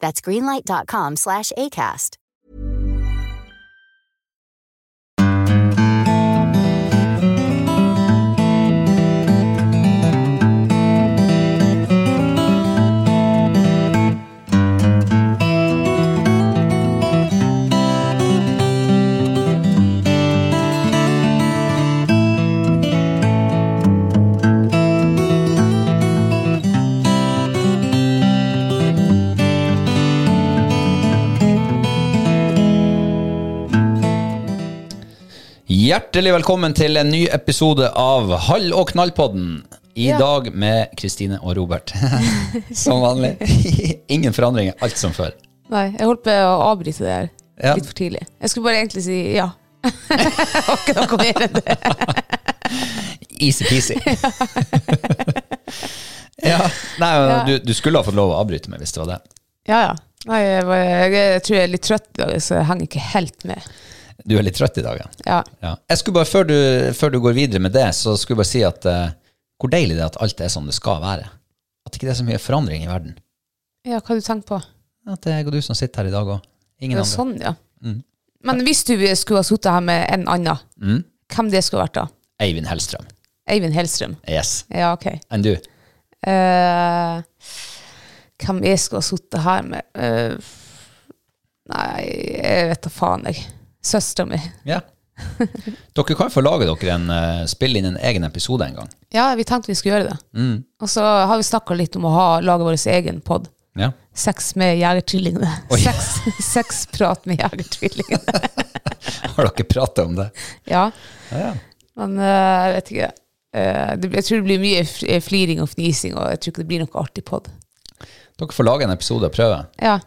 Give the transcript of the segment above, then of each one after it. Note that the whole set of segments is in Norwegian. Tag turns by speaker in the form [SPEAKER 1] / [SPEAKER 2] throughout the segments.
[SPEAKER 1] That's greenlight.com slash ACAST.
[SPEAKER 2] Hjertelig velkommen til en ny episode av Hall og knall-podden. I
[SPEAKER 3] Ja.
[SPEAKER 2] dag med Kristine og Robert. som vanlig. Ingen forandringer, alt som før.
[SPEAKER 3] Nei, jeg holdt på å avbryte det her
[SPEAKER 2] Ja.
[SPEAKER 3] litt for tidlig. Jeg skulle bare egentlig si ja. Jeg har ikke noe mer enn det.
[SPEAKER 2] Easy-peasy. ja, nei, men
[SPEAKER 3] Ja.
[SPEAKER 2] Du, du skulle ha fått lov å avbryte meg hvis det var det.
[SPEAKER 3] Ja, ja. Nei, jeg, bare- jeg tror jeg er litt trøtt i dag, så jeg henger ikke helt med.
[SPEAKER 2] Du er litt trøtt i dag, ja.
[SPEAKER 3] Ja.
[SPEAKER 2] ja. Jeg skulle bare, før du, før du går videre med det, så skulle jeg bare si at eh, hvor deilig det er at alt er som det skal være. At ikke det er så mye forandring i verden.
[SPEAKER 3] ja, hva du tenker på?
[SPEAKER 2] At det er jeg og du som sitter her i dag òg. Ingen
[SPEAKER 3] Det er
[SPEAKER 2] andre. Mm.
[SPEAKER 3] sånn, ja. Men hvis du skulle ha sittet her med en annen, hvem det skulle vært da?
[SPEAKER 2] Eivind Hellstrøm.
[SPEAKER 3] Eivind Hellstrøm.
[SPEAKER 2] Yes.
[SPEAKER 3] Ja, ok.
[SPEAKER 2] Enn du?
[SPEAKER 3] Eh, hvem jeg skulle ha sittet her med? Eh, nei, jeg vet da faen, jeg. Søstera mi.
[SPEAKER 2] Ja. Dere kan få lage dere en eh, spille inn en egen episode en gang.
[SPEAKER 3] Ja, vi tenkte vi skulle gjøre det.
[SPEAKER 2] Mm.
[SPEAKER 3] Og så har vi snakka litt om å ha, lage vår egen pod.
[SPEAKER 2] Ja.
[SPEAKER 3] Sex med jegertvillingene.
[SPEAKER 2] Oi.
[SPEAKER 3] Sex, sexprat med jegertvillingene.
[SPEAKER 2] Har dere pratet om det?
[SPEAKER 3] ja,
[SPEAKER 2] Ja, ja.
[SPEAKER 3] men eh, jeg vet ikke. Eh, det, blir- jeg tror det blir mye f- eh, fliring og fnising, og jeg tror ikke det blir noe artig pod.
[SPEAKER 2] Dere får lage en episode og prøve,
[SPEAKER 3] Ja,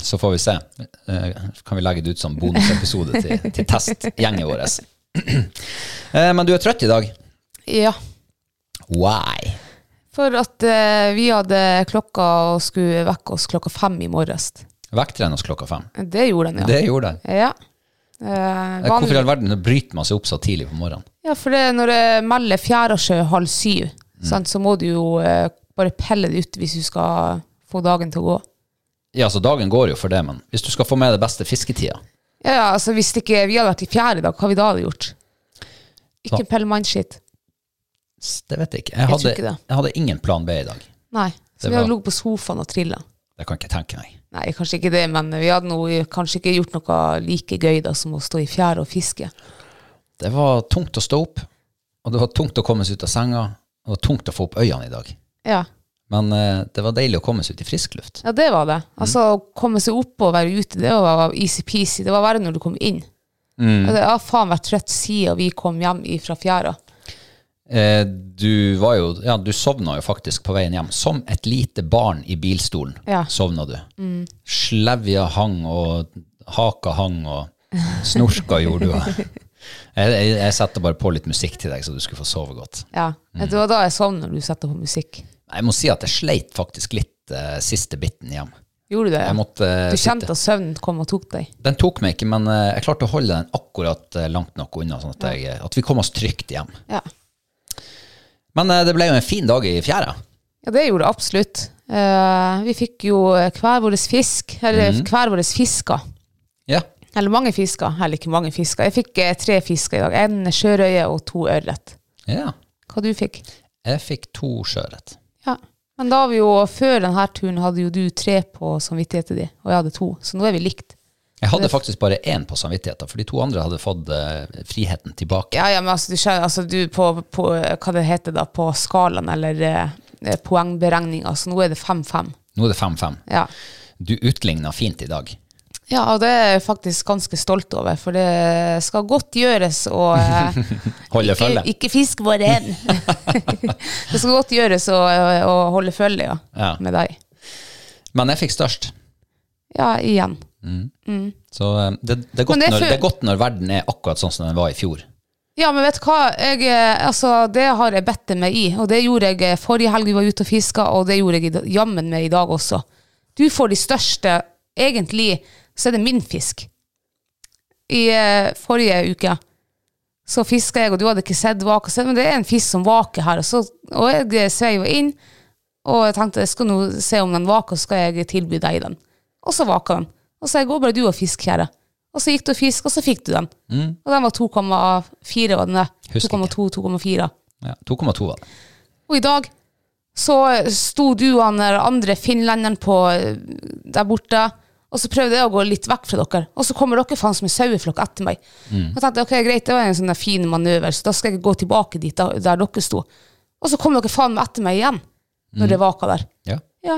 [SPEAKER 2] så får vi se. Eh, Kan vi legge det ut som bonusepisode til, til testgjengen vår. Eh, Men du er trøtt i dag.
[SPEAKER 3] ja.
[SPEAKER 2] Why?
[SPEAKER 3] For at eh, vi hadde klokka og skulle vekke oss klokka fem i morges.
[SPEAKER 2] Vekte den oss klokka fem?
[SPEAKER 3] Det gjorde den, ja.
[SPEAKER 2] Det gjorde den.
[SPEAKER 3] ja. Eh,
[SPEAKER 2] Eh, Hvorfor i
[SPEAKER 3] vanlig-
[SPEAKER 2] all verden bryter man seg opp så tidlig på morgenen?
[SPEAKER 3] Ja, for det, når jeg melder fjerdasjø halv syv, sant, så må du jo eh, bare pelle det ut hvis du skal få dagen til å gå.
[SPEAKER 2] Ja, så dagen går jo for det, men hvis du skal få med det beste fisketida
[SPEAKER 3] Ja, ja, altså hvis det ikke vi hadde vært i fjerde i dag, hva hadde vi da hadde gjort? Ikke
[SPEAKER 2] Da-
[SPEAKER 3] pelle mannskitt.
[SPEAKER 2] s- Det vet jeg ikke.
[SPEAKER 3] Jeg
[SPEAKER 2] Jeg
[SPEAKER 3] tror
[SPEAKER 2] hadde,
[SPEAKER 3] ikke det.
[SPEAKER 2] jeg hadde ingen plan B i dag.
[SPEAKER 3] Nei. Så
[SPEAKER 2] Det
[SPEAKER 3] vi
[SPEAKER 2] var-
[SPEAKER 3] hadde ligget på sofaen og trilla.
[SPEAKER 2] Det kan jeg ikke tenke meg.
[SPEAKER 3] Nei, kanskje ikke det, men vi hadde noe, kanskje ikke gjort noe like gøy da som å stå i fjerde og fiske.
[SPEAKER 2] Det var tungt å stå opp, og det var tungt å komme seg ut av senga. Og det var tungt å få opp øynene i dag.
[SPEAKER 3] Ja,
[SPEAKER 2] Men eh, det var deilig å komme seg ut i frisk luft.
[SPEAKER 3] ja det var det. Altså å komme seg opp og være ute, det var easy-peasy. Det var verre når du kom inn. Og det har faen vært trøtt siden vi kom hjem fra fjæra.
[SPEAKER 2] Eh, du var jo Ja, du sovna jo faktisk på veien hjem. Som et lite barn i bilstolen
[SPEAKER 3] Ja. Mm.
[SPEAKER 2] sovna du. Slevja hang, og haka hang, og snorka gjorde du. og- Jeg, jeg, jeg setter bare på litt musikk til deg, så du skulle få sove godt.
[SPEAKER 3] Ja,
[SPEAKER 2] Mm.
[SPEAKER 3] Det var da jeg sovnet når du setter på musikk.
[SPEAKER 2] Jeg må si at jeg sleit faktisk litt eh, siste biten hjem.
[SPEAKER 3] Gjorde du det?
[SPEAKER 2] Jeg måtte eh,
[SPEAKER 3] du
[SPEAKER 2] sitte-
[SPEAKER 3] kjente at søvnen kom og tok deg?
[SPEAKER 2] Den tok meg ikke, men eh, jeg klarte å holde den akkurat eh, langt nok unna, sånn at, jeg, at vi kom oss trygt hjem.
[SPEAKER 3] Ja.
[SPEAKER 2] Men eh, det ble jo en fin dag i fjæra.
[SPEAKER 3] Ja, det gjorde det absolutt. Eh, vi fikk jo hver vår fisk, eller
[SPEAKER 2] Mm.
[SPEAKER 3] hver vår fisker.
[SPEAKER 2] Ja.
[SPEAKER 3] Eller mange fisker, eller ikke mange fisker. Jeg fikk eh, tre fisker i dag. En sjørøye og to ørret.
[SPEAKER 2] ja.
[SPEAKER 3] Hva du fikk?
[SPEAKER 2] Jeg fikk to sjøørret.
[SPEAKER 3] Ja. Men da har vi jo, før denne turen hadde jo du tre på samvittigheten din, og jeg hadde to. Så nå er vi likt.
[SPEAKER 2] Jeg hadde faktisk bare én på samvittigheten, for de to andre hadde fått eh, friheten tilbake.
[SPEAKER 3] Ja, ja, men altså, du skjønner, altså du på, på eh, hva det heter da, på skalaen eller eh, eh, poengberegninga, så nå er det 5-5.
[SPEAKER 2] Nå er det 5-5.
[SPEAKER 3] Ja.
[SPEAKER 2] Du utligna fint i dag.
[SPEAKER 3] ja, og det er jeg faktisk ganske stolt over, for det skal godt gjøres å eh,
[SPEAKER 2] Holder
[SPEAKER 3] ikke,
[SPEAKER 2] følge.
[SPEAKER 3] ikke fisk vår hen. det skal godt gjøres å, å holde følge ja,
[SPEAKER 2] Ja.
[SPEAKER 3] med deg.
[SPEAKER 2] Men jeg fikk størst.
[SPEAKER 3] Ja, igjen.
[SPEAKER 2] Så eh, det, det, er godt
[SPEAKER 3] Men det er
[SPEAKER 2] når,
[SPEAKER 3] før-
[SPEAKER 2] det er godt når verden er akkurat sånn som den var i fjor.
[SPEAKER 3] Ja, men vet du hva? Jeg, eh, altså, det har jeg bedt meg i, og det gjorde jeg eh, forrige helg vi var ute og fiska, og det gjorde jeg i da- jammen med i dag også. Du får de største. Egentlig så er det min fisk. I eh, forrige uke så fiska jeg, og du hadde ikke sett vaka, men det er en fisk som vaker her. Og, så, og jeg eh, sveiv inn, og jeg tenkte jeg skal nå se om den vaker, så skal jeg tilby deg den. Og så vaker den. Og så jeg går bare du og fisk, kjære. Og så gikk du og fisk, og så fikk du den. Og den var 2,4, var den det?
[SPEAKER 2] Mm. Husker ikke.
[SPEAKER 3] 2,2-2,4.
[SPEAKER 2] Ja, 2,2 var det.
[SPEAKER 3] Og i dag så sto du og han der andre finlenderen på eh, der borte, og så prøvde jeg å gå litt vekk fra dere. Og så kommer dere faen som en saueflokk etter meg. Og jeg tenkte ok, greit, det var en sånn der fin manøver, så da skal jeg gå tilbake dit da- der dere sto. Og så kom dere faen meg etter meg igjen, når det vaka der.
[SPEAKER 2] Ja.
[SPEAKER 3] Ja.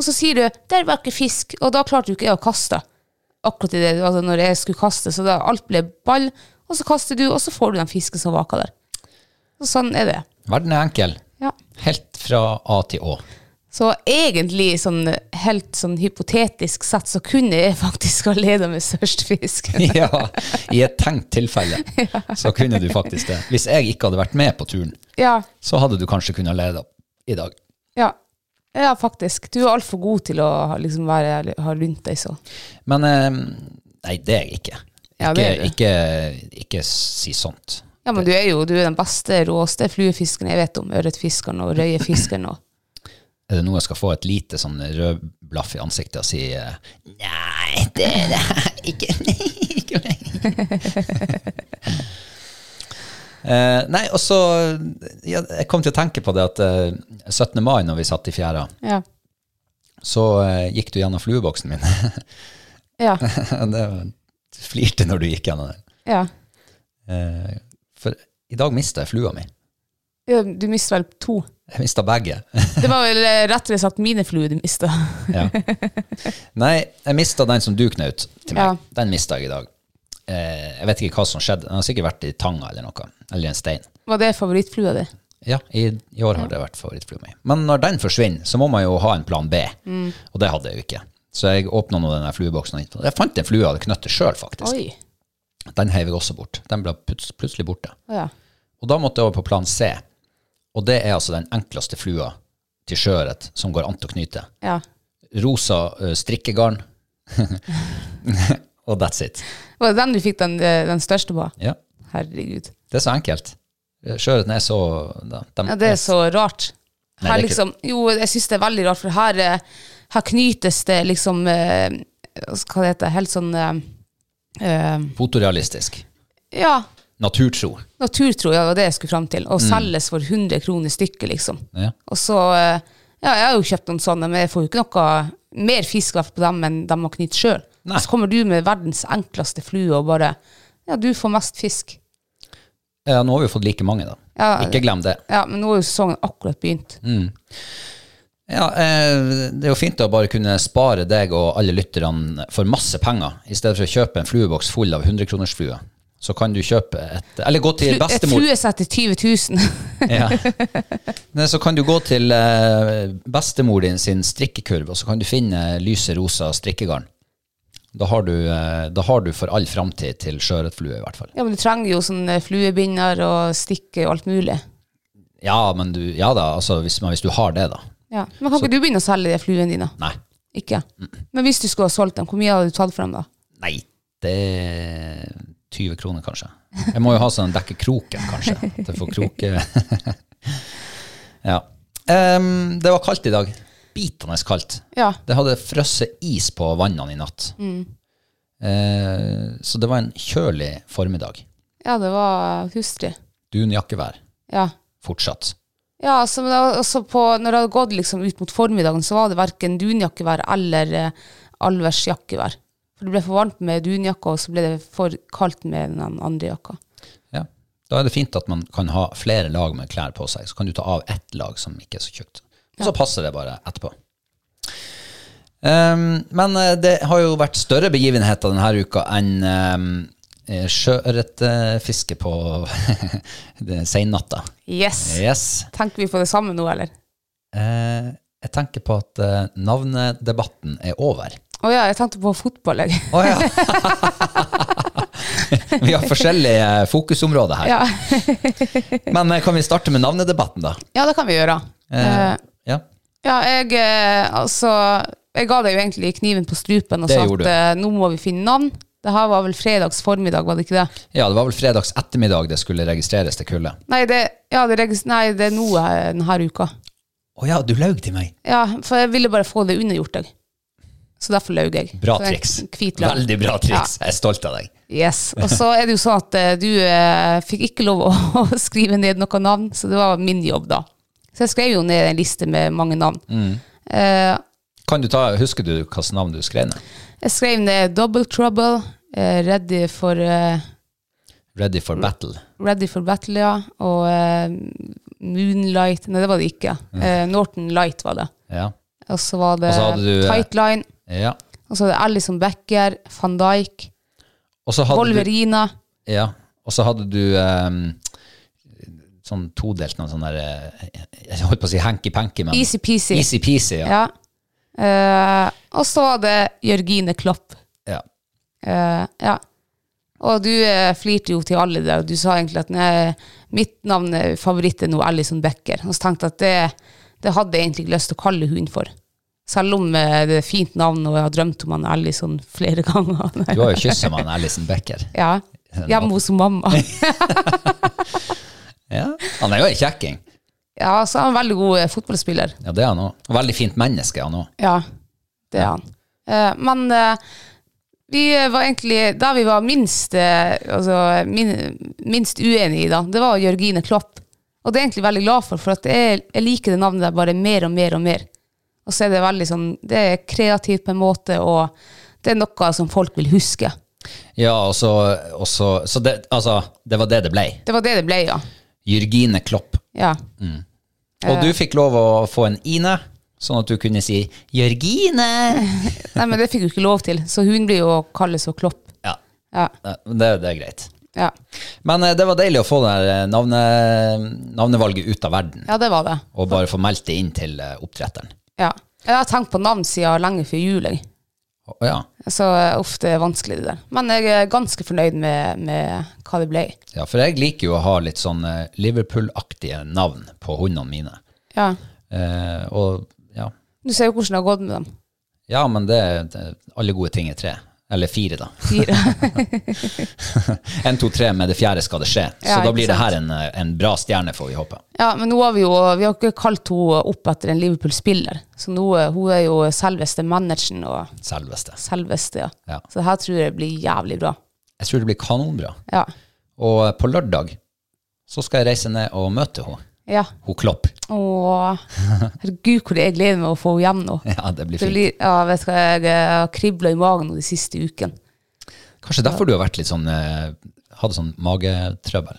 [SPEAKER 3] Og så sier du 'der var ikke fisk', og da klarte jo ikke jeg å kaste. Akkurat i det, altså når jeg skulle kaste, så da alt ble ball, og så kaster du, og så får du den fisken som vaker der. Og sånn er det.
[SPEAKER 2] Verden er enkel.
[SPEAKER 3] Ja.
[SPEAKER 2] Helt fra A til Å.
[SPEAKER 3] Så egentlig, sånn helt sånn hypotetisk sett, så kunne jeg faktisk ha leda med størst fisk.
[SPEAKER 2] ja, i et tenkt tilfelle så kunne du faktisk det. Hvis jeg ikke hadde vært med på turen,
[SPEAKER 3] ja,
[SPEAKER 2] så hadde du kanskje kunnet lede i dag.
[SPEAKER 3] ja. Ja, faktisk. Du er altfor god til å liksom være, ha lunt deg så.
[SPEAKER 2] Men eh, nei, det er jeg ikke. Ikke,
[SPEAKER 3] Ja, det er du.
[SPEAKER 2] ikke, ikke si sånt.
[SPEAKER 3] Ja, men du er jo du er den beste, råeste fluefiskeren jeg vet om. Ørretfiskeren og røyefiskeren og
[SPEAKER 2] Er det noe jeg skal få et lite sånn rød blaff i ansiktet og si eh, Nei, det er det ikke. ikke Eh, nei, og så ja, Jeg kom til å tenke på det at eh, 17. mai, når vi satt i fjæra,
[SPEAKER 3] Ja.
[SPEAKER 2] så eh, gikk du gjennom flueboksen min.
[SPEAKER 3] Ja.
[SPEAKER 2] det var, du flirte når du gikk gjennom den.
[SPEAKER 3] ja.
[SPEAKER 2] Eh, for i dag mista jeg flua mi.
[SPEAKER 3] Ja, Du mista vel to.
[SPEAKER 2] Jeg mista begge.
[SPEAKER 3] Det var vel eh, rettere sagt mine fluer du mista.
[SPEAKER 2] ja. Nei, jeg mista den som du knaut til meg.
[SPEAKER 3] Ja.
[SPEAKER 2] Den mista jeg i dag. Eh, jeg vet ikke hva som skjedde. Den har sikkert vært i tanga eller noe. Eller i en stein.
[SPEAKER 3] Var det favorittflua di?
[SPEAKER 2] Ja, i, i år har det vært favorittflua mi. Men når den forsvinner, så må man jo ha en plan B.
[SPEAKER 3] Mm.
[SPEAKER 2] Og det hadde jeg jo ikke. Så jeg åpna nå den der flueboksen. og innpå- Jeg fant en flue jeg hadde knøttet sjøl, faktisk.
[SPEAKER 3] Oi.
[SPEAKER 2] Den heiv jeg også bort. Den ble pluts- plutselig borte.
[SPEAKER 3] Å ja.
[SPEAKER 2] Og da måtte jeg over på plan C. Og det er altså den enkleste flua til sjøørret som går an til å knyte.
[SPEAKER 3] ja.
[SPEAKER 2] Rosa ø, strikkegarn. og that's it.
[SPEAKER 3] Var det den du fikk den, eh, den største på?
[SPEAKER 2] Ja,
[SPEAKER 3] Herregud.
[SPEAKER 2] det er så enkelt. Eh, Sjøørreten er så de, de
[SPEAKER 3] Ja, det er så rart.
[SPEAKER 2] Mm. Nei, det
[SPEAKER 3] Her
[SPEAKER 2] er ikke-
[SPEAKER 3] liksom, jo, jeg syns det er veldig rart, for her, eh, her knytes det liksom eh, Hva det heter det? Helt sånn eh, eh,
[SPEAKER 2] fotorealistisk.
[SPEAKER 3] Ja,
[SPEAKER 2] Naturtro.
[SPEAKER 3] naturtro, ja, det var det jeg skulle fram til. Og selges for 100 kroner stykket, liksom.
[SPEAKER 2] Mm. Ja.
[SPEAKER 3] Og så eh, Ja, jeg har jo kjøpt noen sånne, men jeg får jo ikke noe mer fisk av på dem enn de har knytt sjøl.
[SPEAKER 2] Nei.
[SPEAKER 3] Så kommer du med verdens enkleste flue og bare Ja, du får mest fisk.
[SPEAKER 2] Ja, Eh, nå har vi fått like mange, da.
[SPEAKER 3] Ja. eh,
[SPEAKER 2] Ikke glem det.
[SPEAKER 3] Ja, men nå har jo sesongen akkurat begynt.
[SPEAKER 2] Mm. Ja, eh, Det er jo fint å bare kunne spare deg og alle lytterne for masse penger. I stedet for å kjøpe en flueboks full av 100-kronersfluer, så kan du kjøpe et Eller gå til
[SPEAKER 3] Flu- eh, Et
[SPEAKER 2] bestemor.
[SPEAKER 3] fluesett til 20 000.
[SPEAKER 2] Ja. Nei, så kan du gå til eh, bestemor din sin strikkekurv, og så kan du finne lyse rosa strikkegarn. Da har du, eh, da har du for all framtid til sjøørretflue, i hvert fall.
[SPEAKER 3] Ja, men du trenger jo sånn eh, fluebinder og stikke og alt mulig.
[SPEAKER 2] Ja, men du, ja da, altså, hvis, men hvis du har det, da.
[SPEAKER 3] Ja. Men kan ikke du begynne å selge de fluene dine?
[SPEAKER 2] Nei.
[SPEAKER 3] Ikke? Men hvis du skulle ha solgt dem, hvor mye hadde du tatt for dem da?
[SPEAKER 2] Nei, det er 20 kroner, kanskje. Jeg må jo ha sånn dekke kroken, kanskje. Til å få kroke Ja. Em, det var kaldt i dag. Bitende kaldt.
[SPEAKER 3] Ja.
[SPEAKER 2] Det hadde frosset is på vannene i natt. Eh, så det var en kjølig formiddag.
[SPEAKER 3] Ja, det var hustrig.
[SPEAKER 2] Dunjakkevær
[SPEAKER 3] Ja.
[SPEAKER 2] fortsatt.
[SPEAKER 3] Ja, altså, men det var også på, når det hadde gått liksom ut mot formiddagen, så var det verken dunjakkevær eller eh, allværsjakkevær. For det ble for varmt med dunjakka, og så ble det for kaldt med den andre jakka.
[SPEAKER 2] Ja. Da er det fint at man kan ha flere lag med klær på seg. Så kan du ta av ett lag som ikke er så tjukt. Og så passer det bare etterpå. Ehm, men eh, det har jo vært større begivenheter denne uka enn um, sjøørretfiske på det- sennatta.
[SPEAKER 3] Yes!
[SPEAKER 2] Yes.
[SPEAKER 3] Tenker vi på det samme nå, eller?
[SPEAKER 2] Eh, jeg tenker på at eh, navnedebatten er over.
[SPEAKER 3] Å ja, jeg tenkte på fotball, jeg.
[SPEAKER 2] Å ja! vi har forskjellige eh, fokusområder her.
[SPEAKER 3] Ja.
[SPEAKER 2] Men eh, kan vi starte med navnedebatten, da?
[SPEAKER 3] ja, det kan vi gjøre.
[SPEAKER 2] Eh,
[SPEAKER 3] Eh,
[SPEAKER 2] ja.
[SPEAKER 3] Ja, jeg eh, altså Jeg ga deg jo egentlig kniven på strupen og
[SPEAKER 2] Det
[SPEAKER 3] sa
[SPEAKER 2] gjorde
[SPEAKER 3] at
[SPEAKER 2] du.
[SPEAKER 3] eh, nå må vi finne navn. Det her var vel fredags formiddag, var det ikke det?
[SPEAKER 2] Ja, det var vel fredags ettermiddag det skulle registreres til kullet.
[SPEAKER 3] Nei, det, ja, det, regis- nei, det er nå eh, denne uka.
[SPEAKER 2] Å ja, du laug til meg.
[SPEAKER 3] Ja, for jeg ville bare få det unnagjort, jeg. Så derfor laug jeg.
[SPEAKER 2] Bra
[SPEAKER 3] Så det er en
[SPEAKER 2] triks.
[SPEAKER 3] Hvit løgn.
[SPEAKER 2] Veldig bra triks. Jeg er stolt av deg.
[SPEAKER 3] Yes. Og så er det jo sånn at eh, du eh, fikk ikke lov å, å skrive ned noe navn, så det var min jobb, da. Så jeg skrev jo ned en liste med mange navn.
[SPEAKER 2] Mm.
[SPEAKER 3] Eh,
[SPEAKER 2] Kan du ta, Husker du hvilket navn du skrev ned?
[SPEAKER 3] jeg skrev ned Double Trouble, eh, Ready for eh,
[SPEAKER 2] Ready
[SPEAKER 3] Mm.
[SPEAKER 2] for battle.
[SPEAKER 3] Ready for Battle, ja. Og eh, Moonlight Nei, det var det ikke. Eh, Norton Light var det.
[SPEAKER 2] Ja.
[SPEAKER 3] Og så var
[SPEAKER 2] Mm.
[SPEAKER 3] det
[SPEAKER 2] Og så hadde du, eh,
[SPEAKER 3] Tightline.
[SPEAKER 2] ja.
[SPEAKER 3] Og så hadde Alison Becker, van Dijk,
[SPEAKER 2] Og så hadde du,
[SPEAKER 3] Wolverina.
[SPEAKER 2] ja. Og så hadde du ehm, sånn todelt noen sånn der eh, Jeg holdt på å si hanky-panky, men
[SPEAKER 3] Easy-peasy.
[SPEAKER 2] Easy-peasy, ja.
[SPEAKER 3] Ja. Eh, og så var det Jørgine Klopp.
[SPEAKER 2] ja.
[SPEAKER 3] Eh, ja. Og du eh, flirte jo til alle der, og du sa egentlig at nei, mitt navn er favoritt er nå Alison Becker. Og så tenkte jeg at det, det hadde jeg egentlig ikke lyst til å kalle hun for. Selv om eh, det er et fint navn, og jeg har drømt om han Alison flere ganger.
[SPEAKER 2] Du har jo kyssa med han Alison Becker.
[SPEAKER 3] ja. Hjemme hos mamma.
[SPEAKER 2] Ja. Han er jo ei kjekking.
[SPEAKER 3] Ja, så er han en veldig god eh, fotballspiller.
[SPEAKER 2] Ja, det er han òg. Veldig fint menneske, han òg.
[SPEAKER 3] Ja, det er han. Eh, men eh, vi var egentlig Da vi var minst, eh, altså, min, minst uenige i, da, det var Jørgine Klopp. Og det er jeg egentlig veldig glad for, for at jeg, jeg liker det navnet der bare mer og mer og mer. Og så er det veldig sånn Det er kreativt på en måte, og det er noe som folk vil huske.
[SPEAKER 2] Ja, og så, og så, så det, altså, det var det det blei.
[SPEAKER 3] Det var det det ble, ja.
[SPEAKER 2] Jørgine Klopp.
[SPEAKER 3] ja.
[SPEAKER 2] Og du fikk lov å få en Ine, sånn at du kunne si 'Jørgine'.
[SPEAKER 3] Nei, men det fikk hun ikke lov til, så hun blir jo å kalles og Klopp.
[SPEAKER 2] Ja,
[SPEAKER 3] Ja.
[SPEAKER 2] det, det er greit.
[SPEAKER 3] Ja.
[SPEAKER 2] Men eh, det var deilig å få det der eh, navne, navnevalget ut av verden,
[SPEAKER 3] ja, det var det.
[SPEAKER 2] og bare få meldt det inn til eh, oppdretteren.
[SPEAKER 3] Ja. Jeg har tenkt på navn siden lenge før jul, jeg.
[SPEAKER 2] Å, Ja,
[SPEAKER 3] Så eh, ofte er det vanskelig det der. Men jeg er ganske fornøyd med, med hva det ble.
[SPEAKER 2] ja, for jeg liker jo å ha litt sånn eh, Liverpool-aktige navn på hundene mine.
[SPEAKER 3] Ja.
[SPEAKER 2] Eh, og ja.
[SPEAKER 3] Du ser jo hvordan det har gått med dem.
[SPEAKER 2] ja, men det, det Alle gode ting er tre. Eller fire, da.
[SPEAKER 3] Fire.
[SPEAKER 2] En, to, tre, med det fjerde skal det skje. Så
[SPEAKER 3] Ja,
[SPEAKER 2] da
[SPEAKER 3] ikke
[SPEAKER 2] blir det
[SPEAKER 3] sant.
[SPEAKER 2] her en, eh, en bra stjerne, får vi håpe.
[SPEAKER 3] Ja, men nå har vi jo vi har ikke kalt henne opp etter en Liverpool-spiller. Så nå eh, hun er jo selveste manageren og
[SPEAKER 2] Selveste.
[SPEAKER 3] selveste, ja.
[SPEAKER 2] Ja.
[SPEAKER 3] Så det her tror jeg blir jævlig bra.
[SPEAKER 2] Jeg tror det blir kanonbra.
[SPEAKER 3] Ja.
[SPEAKER 2] Og eh, på lørdag så skal jeg reise ned og møte henne.
[SPEAKER 3] ja.
[SPEAKER 2] Hun Klopp.
[SPEAKER 3] Åh, herregud hvor jeg gleder meg å få henne hjem nå.
[SPEAKER 2] Ja, det blir
[SPEAKER 3] Det
[SPEAKER 2] fint.
[SPEAKER 3] blir, ja, vet du hva, jeg eh, har kriblet i magen nå de siste ukene.
[SPEAKER 2] Kanskje derfor du har vært litt sånn eh, Hadde sånn magetrøbbel.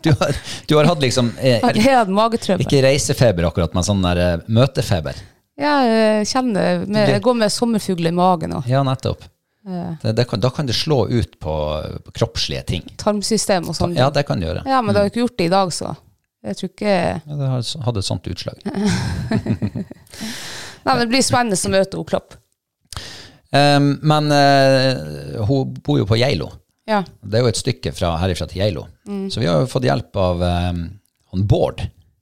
[SPEAKER 2] du, har, du har hatt liksom eh,
[SPEAKER 3] Jeg har hatt magetrøbbel.
[SPEAKER 2] Ikke reisefeber akkurat, men sånn der eh, møtefeber.
[SPEAKER 3] Ja, jeg kjenner med, Jeg går med sommerfugler i magen og
[SPEAKER 2] Ja, nettopp. Det, det kan, da kan det slå ut på, på kroppslige ting.
[SPEAKER 3] tarmsystem og sånn.
[SPEAKER 2] Ja, det kan det gjøre.
[SPEAKER 3] Ja, men det har jeg ikke gjort det i dag, så jeg tror ikke
[SPEAKER 2] Ja, Det har- hadde et sånt utslag.
[SPEAKER 3] Nei, men det blir spennende å møte henne Klopp.
[SPEAKER 2] Em, men eh, hun bor jo på Geilo.
[SPEAKER 3] Ja.
[SPEAKER 2] Det er jo et stykke fra, herifra til Geilo.
[SPEAKER 3] Mm.
[SPEAKER 2] Så vi har jo fått hjelp av
[SPEAKER 3] Mm.
[SPEAKER 2] eh, han Bård,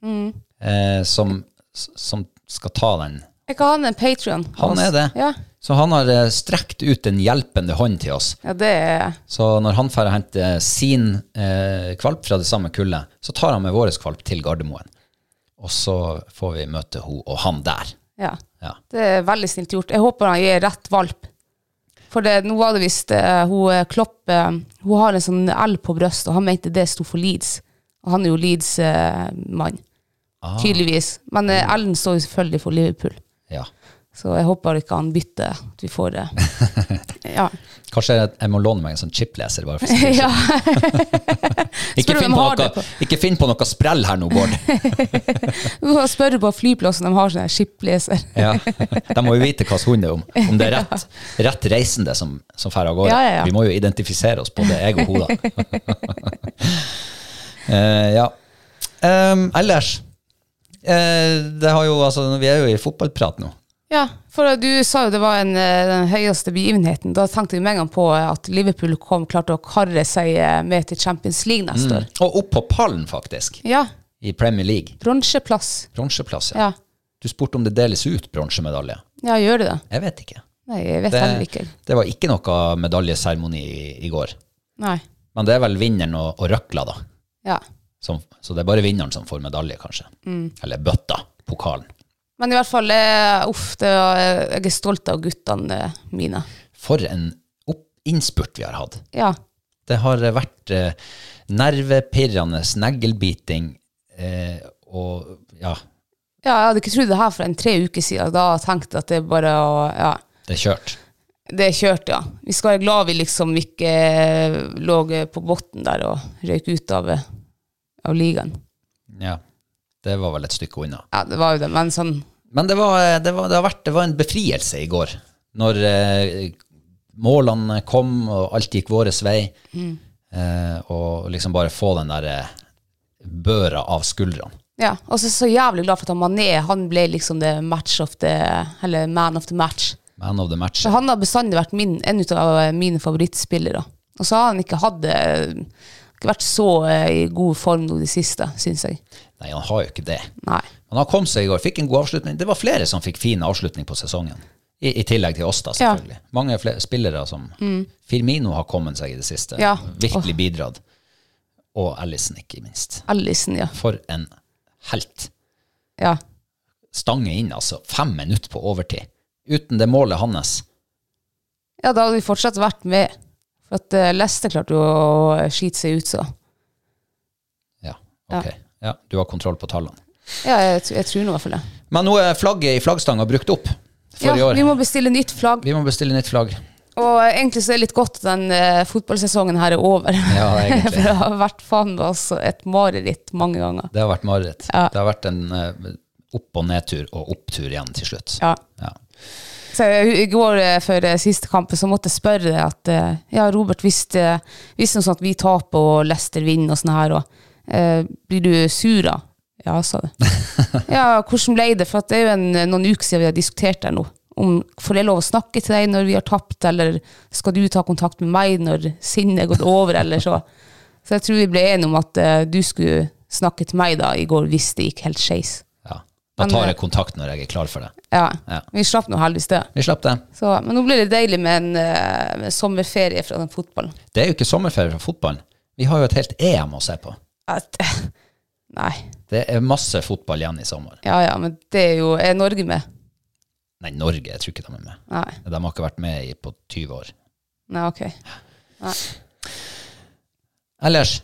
[SPEAKER 2] eh, som, som skal ta den
[SPEAKER 3] Er ikke han en patrion?
[SPEAKER 2] Han er det.
[SPEAKER 3] Ja.
[SPEAKER 2] Så han har eh, strekt ut en hjelpende hånd til oss.
[SPEAKER 3] ja, det er
[SPEAKER 2] Så når han drar og henter sin eh, kvalp fra det samme kullet, så tar han med vår kvalp til Gardermoen. Og så får vi møte hun og han der.
[SPEAKER 3] Ja.
[SPEAKER 2] Ja.
[SPEAKER 3] Det er veldig snilt gjort. Jeg håper han gir rett valp. For det, nå var det visst eh, hun eh, Klopp eh, Hun har en sånn L på brystet, og han mente det sto for Leeds. Og han er jo Leeds-mann,
[SPEAKER 2] Ah.
[SPEAKER 3] tydeligvis. Men eh, L-en står jo selvfølgelig for Liverpool.
[SPEAKER 2] ja.
[SPEAKER 3] Så jeg håper ikke han bytter, at vi får det. Ja.
[SPEAKER 2] Kanskje jeg- jeg må låne meg en sånn chipleser. bare for å
[SPEAKER 3] ja.
[SPEAKER 2] ikke,
[SPEAKER 3] Spør
[SPEAKER 2] finn
[SPEAKER 3] om de
[SPEAKER 2] på
[SPEAKER 3] har
[SPEAKER 2] noe,
[SPEAKER 3] det på-
[SPEAKER 2] ikke finn på noe sprell her nå, Bård.
[SPEAKER 3] Du må spørre på flyplassen, de har sånne skipleser.
[SPEAKER 2] Ja. De må jo vite hva slags hund det er, om, om det er rett, rett reisende som, som drar av gårde.
[SPEAKER 3] Ja, ja, ja.
[SPEAKER 2] Vi må jo identifisere oss, både jeg og hun, da. Eh, ja. Em, ellers eh, det har jo, altså, Vi er jo i fotballprat nå.
[SPEAKER 3] Ja, for du sa jo det var en, eh, den høyeste begivenheten. Da tenkte vi med en gang på eh, at Liverpool kom klart å karre seg eh, med til Champions League neste år.
[SPEAKER 2] Og opp på pallen, faktisk,
[SPEAKER 3] Ja,
[SPEAKER 2] i Premier League.
[SPEAKER 3] bronseplass.
[SPEAKER 2] Bronseplass, ja.
[SPEAKER 3] Ja.
[SPEAKER 2] Du spurte om det deles ut bronsemedalje.
[SPEAKER 3] ja, gjør det det?
[SPEAKER 2] Jeg vet ikke.
[SPEAKER 3] Nei, jeg vet
[SPEAKER 2] Det,
[SPEAKER 3] heller ikke.
[SPEAKER 2] det var ikke noe medaljeseremoni i, i går.
[SPEAKER 3] Nei.
[SPEAKER 2] Men det er vel vinneren og, og røkla, da.
[SPEAKER 3] Ja.
[SPEAKER 2] Som, så det er bare vinneren som får medalje, kanskje. Eller bøtta, pokalen.
[SPEAKER 3] Men i hvert fall, eh, uff, det var, jeg er stolt av guttene eh, mine.
[SPEAKER 2] For en opp innspurt vi har hatt.
[SPEAKER 3] Ja,
[SPEAKER 2] Det har vært eh, nervepirrende sneglebiting eh, og ja,
[SPEAKER 3] ja jeg hadde ikke trodd det her for en tre uker siden. Da tenkte jeg at det er bare å ja.
[SPEAKER 2] det er kjørt.
[SPEAKER 3] Det er kjørt, ja. Vi skal være glad vi liksom ikke eh, lå eh, på bunnen der og røyk ut av, eh, av ligaen.
[SPEAKER 2] Ja. Det var vel et stykke unna.
[SPEAKER 3] Ja, det var jo det, men sånn
[SPEAKER 2] Men det var, eh, det var, det har vært, det var en befrielse i går, når eh, målene kom og alt gikk vår vei. Eh, og liksom bare få den der eh, børa av skuldrene.
[SPEAKER 3] Ja, og så så jævlig glad for at han Mané han ble liksom the match of the, eller man of the match.
[SPEAKER 2] Man of the match.
[SPEAKER 3] Så han har bestandig vært min, en ut av eh, mine favorittspillere. Og så har han ikke hatt eh, ikke vært så eh, i god form nå i det siste, syns jeg.
[SPEAKER 2] Nei, han har jo ikke det.
[SPEAKER 3] Nei.
[SPEAKER 2] Men han kom seg i går, fikk en god avslutning. Det var flere som fikk fin avslutning på sesongen. I, i tillegg til oss, da,
[SPEAKER 3] Ja. Mm.
[SPEAKER 2] selvfølgelig. Mange flere spillere som Firmino har kommet seg i det siste.
[SPEAKER 3] Ja.
[SPEAKER 2] Virkelig bidratt. Og Ellison, ikke minst.
[SPEAKER 3] Ellison, ja.
[SPEAKER 2] For en helt.
[SPEAKER 3] ja.
[SPEAKER 2] Stange inn, altså. Fem minutter på overtid. Uten det målet hans.
[SPEAKER 3] Ja, da hadde vi fortsatt vært med. For at eh, Leicester klarte jo å eh, skite seg ut, så.
[SPEAKER 2] Ja, ok. Ja. du har kontroll på tallene.
[SPEAKER 3] Ja, jeg, tr- jeg tror nå i hvert fall det.
[SPEAKER 2] Men nå er flagget i flaggstanga brukt opp for
[SPEAKER 3] Ja,
[SPEAKER 2] i år.
[SPEAKER 3] vi må bestille nytt flagg.
[SPEAKER 2] vi må bestille nytt flagg.
[SPEAKER 3] Og egentlig så er det litt godt at den eh, fotballsesongen her er over.
[SPEAKER 2] Ja, egentlig.
[SPEAKER 3] For det har vært faen meg altså et mareritt mange ganger.
[SPEAKER 2] Det har vært mareritt.
[SPEAKER 3] Ja.
[SPEAKER 2] Det har vært en eh, opp- og nedtur og opptur igjen til slutt.
[SPEAKER 3] Ja.
[SPEAKER 2] Ja.
[SPEAKER 3] Så jeg- i går eh, før eh, siste kampen så måtte jeg spørre deg at eh, ja, Robert, hvis det hvis det er sånn at vi taper og Leicester vinner og sånn her, og, eh, blir du sur da? Ja, sa du. Ja, hvordan ble det? For at det er jo en, eh, noen uker siden vi har diskutert det her nå. Om, får jeg lov å snakke til deg når vi har tapt, eller skal du ta kontakt med meg når sinnet er gått over, eller så. Så jeg tror vi ble enige om at eh, du skulle snakke til meg da i går hvis det gikk helt skeis.
[SPEAKER 2] Ja. Da
[SPEAKER 3] Men,
[SPEAKER 2] tar
[SPEAKER 3] eh,
[SPEAKER 2] jeg kontakt når jeg er klar for det.
[SPEAKER 3] Ja.
[SPEAKER 2] Ja.
[SPEAKER 3] Vi slapp nå heldigvis det.
[SPEAKER 2] Vi slapp det.
[SPEAKER 3] Så, men nå blir det deilig med en eh, med sommerferie fra den fotballen.
[SPEAKER 2] Det er jo ikke sommerferie fra fotballen. Vi har jo et helt EM å se på.
[SPEAKER 3] At, nei.
[SPEAKER 2] Det er masse fotball igjen i sommer.
[SPEAKER 3] Ja ja, men det er jo Er Norge med?
[SPEAKER 2] Nei, Norge, jeg tror ikke de er med.
[SPEAKER 3] Nei.
[SPEAKER 2] De har ikke vært med i på 20 år.
[SPEAKER 3] Nei, ok.
[SPEAKER 2] Ellers,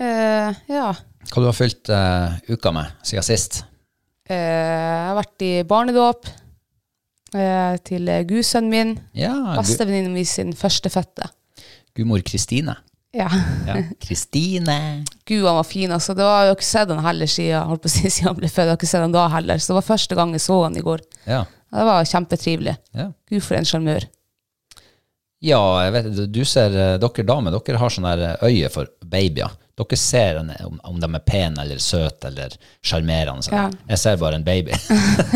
[SPEAKER 3] Eh, ja.
[SPEAKER 2] hva du har fylt eh, uka med siden sist?
[SPEAKER 3] Eh, jeg har vært i barnedåp eh, til eh, gudsønnen min.
[SPEAKER 2] Ja, gu
[SPEAKER 3] Bestevenninna mi sin førstefødte.
[SPEAKER 2] gudmor Kristine.
[SPEAKER 3] Ja.
[SPEAKER 2] Ja. Kristine!
[SPEAKER 3] Gud, han var fin, altså. Det var jeg har ikke sett han heller siden, holdt på å si, siden han ble født. Jeg har ikke sett han da heller. Så det var første gang jeg så han i går.
[SPEAKER 2] Ja.
[SPEAKER 3] Ja, Det var kjempetrivelig.
[SPEAKER 2] ja.
[SPEAKER 3] Gud, for en sjarmør.
[SPEAKER 2] Ja, jeg vet, du ser, eh, dere damer dere har sånn der eh, øye for babyer. Dere ser en, om, om de er pene eller søte eller sjarmerende. sånn.
[SPEAKER 3] Ja.
[SPEAKER 2] Jeg ser bare en baby.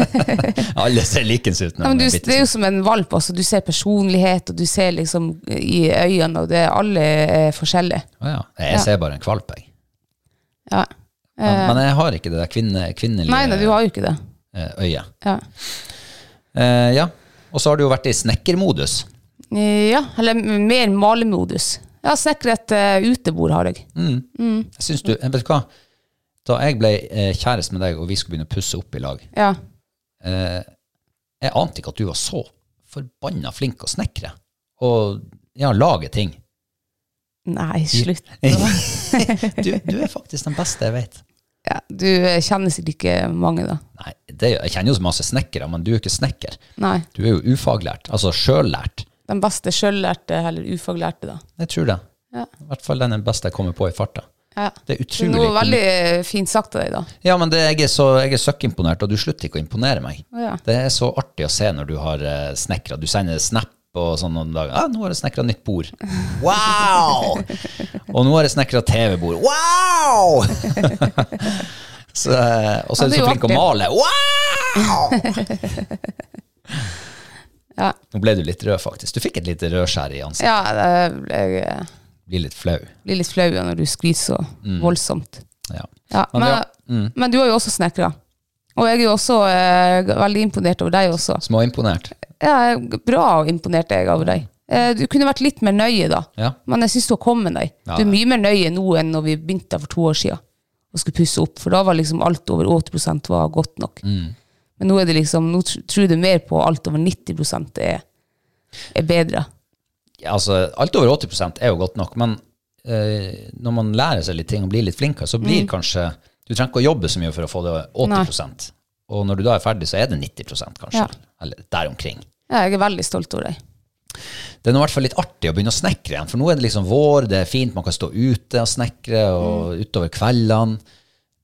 [SPEAKER 2] Alle ser likens ut.
[SPEAKER 3] Ja,
[SPEAKER 2] når
[SPEAKER 3] men
[SPEAKER 2] de
[SPEAKER 3] du,
[SPEAKER 2] er
[SPEAKER 3] det er jo som en valp også. Du ser personlighet, og du ser liksom i øynene, og det, alle er forskjellige.
[SPEAKER 2] bittesmå. Å, ja. Jeg ser bare en kvalp, jeg.
[SPEAKER 3] Ja.
[SPEAKER 2] Men, men jeg har ikke det der kvinne, kvinnelige
[SPEAKER 3] Nei, nei, du har jo ikke det.
[SPEAKER 2] eh, øye.
[SPEAKER 3] Ja.
[SPEAKER 2] Eh, ja. Og så har du jo vært i snekkermodus.
[SPEAKER 3] ja, eller mer malemodus. Jeg har snekret et eh, utebord, har jeg.
[SPEAKER 2] Mm.
[SPEAKER 3] Mm.
[SPEAKER 2] Jeg synes du, eh, vet du hva? Da jeg ble eh, kjæreste med deg, og vi skulle begynne å pusse opp i lag,
[SPEAKER 3] Ja.
[SPEAKER 2] Eh, jeg ante ikke at du var så forbanna flink å snekre. Og ja, lage ting.
[SPEAKER 3] Nei, slutt.
[SPEAKER 2] Du, du er faktisk den beste jeg vet.
[SPEAKER 3] Ja, du eh, kjenner sikkert ikke mange, da.
[SPEAKER 2] Nei, det, jeg kjenner jo så masse snekkere, men du er jo ikke snekker.
[SPEAKER 3] Nei.
[SPEAKER 2] Du er jo ufaglært. Altså sjøllært.
[SPEAKER 3] Den beste sjøllærte eller ufaglærte, da.
[SPEAKER 2] Jeg tror det.
[SPEAKER 3] Ja.
[SPEAKER 2] I hvert fall den er den beste jeg kommer på i farta.
[SPEAKER 3] Ja.
[SPEAKER 2] Det er
[SPEAKER 3] Det er
[SPEAKER 2] utrolig
[SPEAKER 3] noe veldig eh, fint sagt av deg, da.
[SPEAKER 2] Ja, men det, jeg er så- jeg er søkkimponert, og du slutter ikke å imponere meg.
[SPEAKER 3] Å, ja.
[SPEAKER 2] Det er så artig å se når du har eh, snekra. Du sender snap og sånn noen dager. Ah, 'Nå har jeg snekra nytt bord.' Wow! og 'nå har jeg snekra TV-bord.' Wow! så, eh, og så er du
[SPEAKER 3] Ja, det er
[SPEAKER 2] så
[SPEAKER 3] jo
[SPEAKER 2] flink å
[SPEAKER 3] artig.
[SPEAKER 2] male. Wow!
[SPEAKER 3] Ja.
[SPEAKER 2] Nå ble du litt rød, faktisk. Du fikk et lite rødskjær i ansiktet.
[SPEAKER 3] Ja, det- jeg eh,
[SPEAKER 2] Blir litt flau.
[SPEAKER 3] blir litt flau når du skryter så
[SPEAKER 2] Mm.
[SPEAKER 3] voldsomt.
[SPEAKER 2] Ja.
[SPEAKER 3] Ja,
[SPEAKER 2] Men
[SPEAKER 3] men,
[SPEAKER 2] ja, mm.
[SPEAKER 3] men du har jo også snekra. Og jeg er jo også eh, veldig imponert over deg også.
[SPEAKER 2] Småimponert.
[SPEAKER 3] Ja, bra imponert jeg over deg. Eh, du kunne vært litt mer nøye da,
[SPEAKER 2] Ja.
[SPEAKER 3] men jeg syns du har kommet deg.
[SPEAKER 2] Ja.
[SPEAKER 3] Du er mye mer nøye nå enn når vi begynte for to år siden og skulle pusse opp, for da var liksom alt over 80 var godt nok.
[SPEAKER 2] Mm.
[SPEAKER 3] Men nå er det liksom, nå tr- tror du mer på alt over 90 er, er bedre.
[SPEAKER 2] Ja, altså, alt over 80 er jo godt nok, men eh, når man lærer seg litt ting og blir litt flinkere, så blir kanskje Du trenger ikke å jobbe så mye for å få det 80 Og når du da er ferdig, så er det 90 kanskje.
[SPEAKER 3] Ja.
[SPEAKER 2] Eller der omkring.
[SPEAKER 3] Ja, jeg er veldig stolt over deg.
[SPEAKER 2] Det er nå i hvert fall litt artig å begynne å snekre igjen, for nå er det liksom vår, det er fint, man kan stå ute og snekre og
[SPEAKER 3] Mm.
[SPEAKER 2] utover kveldene.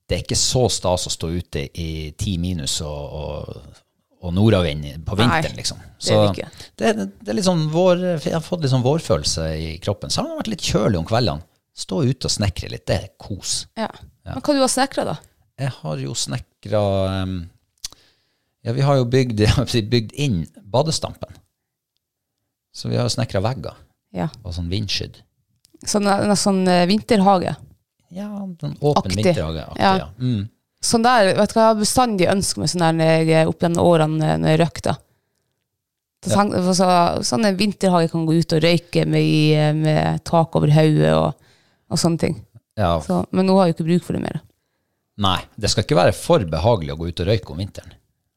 [SPEAKER 2] Det er ikke så stas å stå ute i ti minus og, og, og nordavind i- på
[SPEAKER 3] Nei,
[SPEAKER 2] vinteren, liksom.
[SPEAKER 3] det er det ikke.
[SPEAKER 2] det, det er liksom vår, jeg har fått litt sånn vårfølelse i kroppen. Så har det vært litt kjølig om kveldene. Stå ute og snekre litt, det er kos.
[SPEAKER 3] Ja. Men hva du har snekra, da?
[SPEAKER 2] Jeg har jo snekra em, Ja, vi har jo bygd, bygd inn badestampen. Så vi har jo snekra vegger
[SPEAKER 3] Ja.
[SPEAKER 2] og sånn vindskydd.
[SPEAKER 3] Sånn, en sånn eh, vinterhage.
[SPEAKER 2] Ja, den Sånn åpen
[SPEAKER 3] Aktig.
[SPEAKER 2] vinterhage. Aktig, ja.
[SPEAKER 3] Ja.
[SPEAKER 2] Mm.
[SPEAKER 3] Sånn der, vet du hva, jeg har bestandig ønsket meg sånn der når jeg, opp gjennom årene når jeg røykte. Så
[SPEAKER 2] Ja.
[SPEAKER 3] tenk- for Så, sånn en vinterhage kan gå ut og røyke med, i- eh, med tak over hodet og, og sånne ting.
[SPEAKER 2] ja.
[SPEAKER 3] Så, men nå har jeg jo ikke bruk for det mer.
[SPEAKER 2] Nei, det skal ikke være for behagelig å gå ut og røyke om vinteren.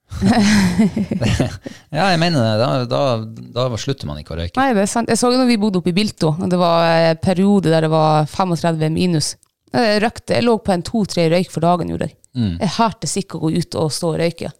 [SPEAKER 2] ja, jeg mener det. Da, da, da slutter man ikke å røyke.
[SPEAKER 3] Nei, det er sant. Jeg så jo når vi bodde oppe i Bilto, og det var en periode der det var 35 minus. Jeg røykte, jeg lå på en to-tre røyk for dagen, gjorde jeg. Jeg hørte sikkert å gå ut og stå og røyke.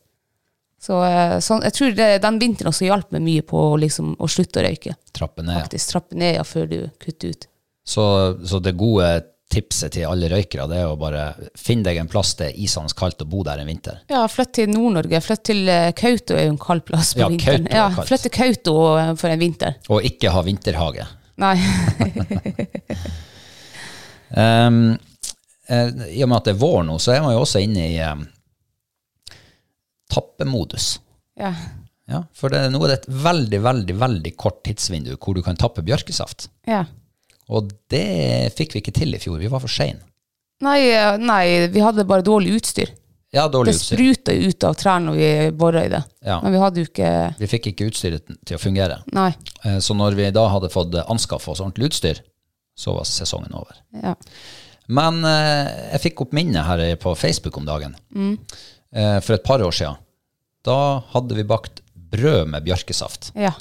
[SPEAKER 3] Så, eh, sånn, jeg tror det, den vinteren også hjalp meg mye på å liksom, å slutte å røyke.
[SPEAKER 2] Trappe ned.
[SPEAKER 3] faktisk trappe ned ja, før du kutter ut.
[SPEAKER 2] Så, så det gode tipset til alle røykere det er å bare finne deg en plass det er isende kaldt og bo der en vinter.
[SPEAKER 3] Ja, flytt til Nord-Norge. Flytt til eh, Kautokeino, er jo en kald plass på
[SPEAKER 2] Ja,
[SPEAKER 3] vinteren.
[SPEAKER 2] Kautokeino er
[SPEAKER 3] Ja,
[SPEAKER 2] kaldt.
[SPEAKER 3] flytt til Kautokeino eh, for en vinter.
[SPEAKER 2] Og ikke ha vinterhage.
[SPEAKER 3] Nei.
[SPEAKER 2] Ehm, eh, I og med at det er vår nå, så er man jo også inne i em, tappemodus.
[SPEAKER 3] ja.
[SPEAKER 2] Ja, for det, nå er det et veldig, veldig, veldig kort tidsvindu hvor du kan tappe bjørkesaft.
[SPEAKER 3] ja.
[SPEAKER 2] Og det fikk vi ikke til i fjor. Vi var for sein.
[SPEAKER 3] Nei, eh, nei, vi hadde bare dårlig utstyr.
[SPEAKER 2] Ja, dårlig
[SPEAKER 3] Det
[SPEAKER 2] utstyr.
[SPEAKER 3] spruta jo ut av trærne når vi bora i det.
[SPEAKER 2] Ja.
[SPEAKER 3] Men vi hadde jo ikke
[SPEAKER 2] Vi fikk ikke utstyret til å fungere.
[SPEAKER 3] Nei.
[SPEAKER 2] Eh, Så når vi da hadde fått anskaffa oss ordentlig utstyr, så var sesongen over.
[SPEAKER 3] Ja.
[SPEAKER 2] Men eh, jeg fikk opp minnet her på Facebook om dagen. Eh, for et par år siden. Da hadde vi bakt brød med bjørkesaft.
[SPEAKER 3] ja.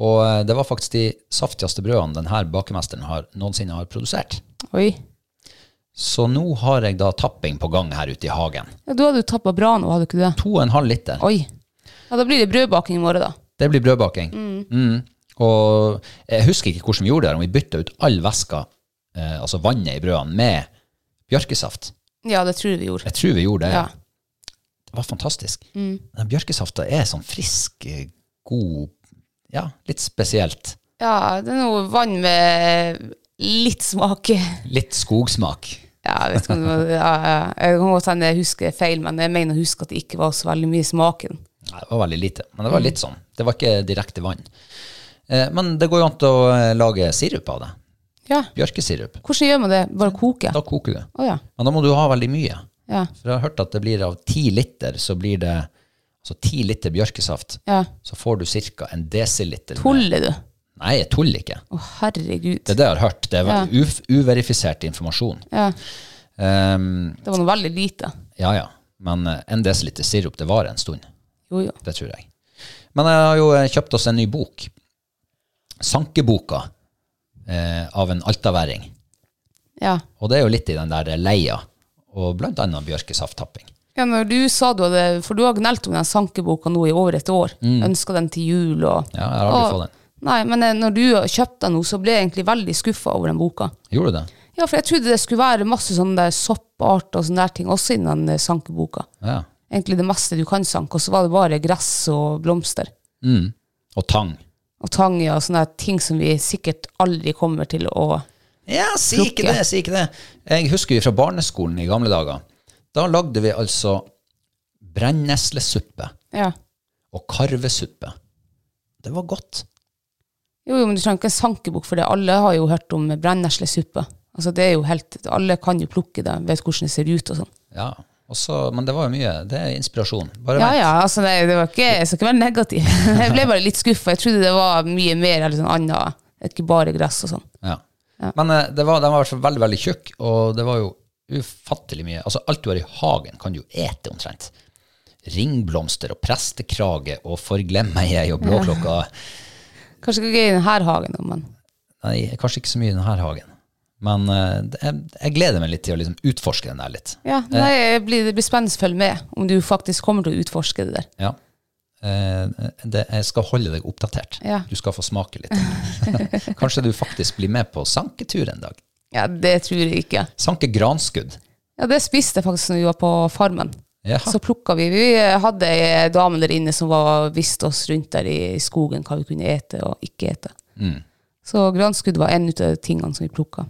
[SPEAKER 2] Og eh, det var faktisk de saftigste brødene denne bakemesteren har, noensinne har produsert.
[SPEAKER 3] Oi.
[SPEAKER 2] Så nå har jeg da tapping på gang her ute i hagen.
[SPEAKER 3] Ja, du hadde jo tappa bra nå, hadde du ikke det?
[SPEAKER 2] To og en halv liter.
[SPEAKER 3] Oi. Ja, da blir det brødbaking i morgen, da.
[SPEAKER 2] Det blir brødbaking. Mm. Og jeg husker ikke hvordan vi gjorde det, her, om vi bytta ut all væska, eh, altså vannet i brødene, med bjørkesaft.
[SPEAKER 3] Ja, det tror jeg vi gjorde.
[SPEAKER 2] Jeg tror vi gjorde det.
[SPEAKER 3] Ja.
[SPEAKER 2] Det var fantastisk. Den bjørkesafta er sånn frisk, eh, god Ja, litt spesielt.
[SPEAKER 3] ja, det er noe vann med litt smak.
[SPEAKER 2] Litt skogsmak.
[SPEAKER 3] Ja, jeg vet ikke om det var, ja, ja. Jeg kan godt hende jeg husker feil, men jeg mener å huske at det ikke var så veldig mye smak i den.
[SPEAKER 2] Nei, det var veldig lite, men det var litt sånn. Det var ikke direkte vann. Eh, Men det går jo an til å eh, lage sirup av det.
[SPEAKER 3] Ja.
[SPEAKER 2] Bjørkesirup.
[SPEAKER 3] Hvordan gjør man det? Bare koke?
[SPEAKER 2] Da koker du.
[SPEAKER 3] Å ja.
[SPEAKER 2] Men da må du ha veldig mye.
[SPEAKER 3] ja.
[SPEAKER 2] For jeg har hørt at det blir av ti liter, så blir det altså ti liter bjørkesaft,
[SPEAKER 3] Ja.
[SPEAKER 2] så får du ca. en desiliter med-
[SPEAKER 3] Tuller du?
[SPEAKER 2] Nei, jeg tuller ikke.
[SPEAKER 3] Å, herregud.
[SPEAKER 2] Det er det jeg har hørt. Det er
[SPEAKER 3] Ja.
[SPEAKER 2] vel uf uverifisert informasjon.
[SPEAKER 3] Ja,
[SPEAKER 2] Ehm,
[SPEAKER 3] det var noe veldig lite.
[SPEAKER 2] ja, ja. Men eh, en desiliter sirup, det varer en stund.
[SPEAKER 3] Jo, jo.
[SPEAKER 2] Det tror jeg. Men jeg har jo eh, kjøpt oss en ny bok. Sankeboka eh, av en altaværing.
[SPEAKER 3] Ja.
[SPEAKER 2] Og det er jo litt i den der eh, leia, og blant annet bjørkesafttapping.
[SPEAKER 3] ja, når du sa du hadde For du har gnelt om den sankeboka nå i over et år. Ønska den til jul og
[SPEAKER 2] Mm. Ja, jeg har aldri
[SPEAKER 3] Og-
[SPEAKER 2] fått den.
[SPEAKER 3] Nei, men eh, når du kjøpte den nå, så ble jeg egentlig veldig skuffa over den boka.
[SPEAKER 2] Gjorde du det?
[SPEAKER 3] Ja, for jeg trodde det skulle være masse sånne der soppart og sånne der ting også innen den eh, sankeboka.
[SPEAKER 2] Ja.
[SPEAKER 3] Egentlig det meste du kan sanke, og så var det bare gress og blomster.
[SPEAKER 2] Mm. Og tang.
[SPEAKER 3] Og tang ja, og sånne der ting som vi sikkert aldri kommer til å
[SPEAKER 2] Ja, si ikke
[SPEAKER 3] Plukke.
[SPEAKER 2] det, si ikke det. Jeg husker jo fra barneskolen i gamle dager. Da lagde vi altså brenneslesuppe
[SPEAKER 3] Ja.
[SPEAKER 2] og karvesuppe. Det var godt.
[SPEAKER 3] Jo, jo, men du trenger ikke en sankebok for det. Alle har jo hørt om brenneslesuppe. Altså, det er jo helt, alle kan jo plukke det, vet hvordan det ser ut og sånn.
[SPEAKER 2] Ja. Og så- men det var jo mye. Det er inspirasjon. Bare
[SPEAKER 3] Ja,
[SPEAKER 2] vent.
[SPEAKER 3] ja, altså, det, det var ikke, jeg skal ikke være negativ. Jeg ble bare litt skuffa. Jeg trodde det var mye mer eller sånn annet, ikke bare gress og sånn.
[SPEAKER 2] Ja. Men eh, det var, den var i hvert fall veldig, veldig tjukk, og det var jo ufattelig mye. Altså, alt du har i hagen kan du jo ete omtrent. Ringblomster og prestekrage og forglem meg jeg og blåklokka.
[SPEAKER 3] Kanskje ikke gøy i denne hagen, da, men
[SPEAKER 2] Nei, kanskje ikke så mye i denne hagen. Men eh, det- jeg, jeg gleder meg litt til å liksom utforske den der litt.
[SPEAKER 3] ja, nei, det blir, det blir spennende å følge med om du faktisk kommer til å utforske det der.
[SPEAKER 2] Ja. Eh, det, jeg skal holde deg oppdatert.
[SPEAKER 3] Ja.
[SPEAKER 2] Du skal få smake litt. Kanskje du faktisk blir med på sanketur en dag.
[SPEAKER 3] Ja, det tror jeg ikke.
[SPEAKER 2] Sanke granskudd.
[SPEAKER 3] Ja, det spiste jeg faktisk når vi var på farmen.
[SPEAKER 2] Jaha.
[SPEAKER 3] Så plukka vi. Vi hadde ei dame der inne som var, viste oss rundt der i skogen hva vi kunne ete og ikke ete. Så granskudd var en av tingene som vi plukka.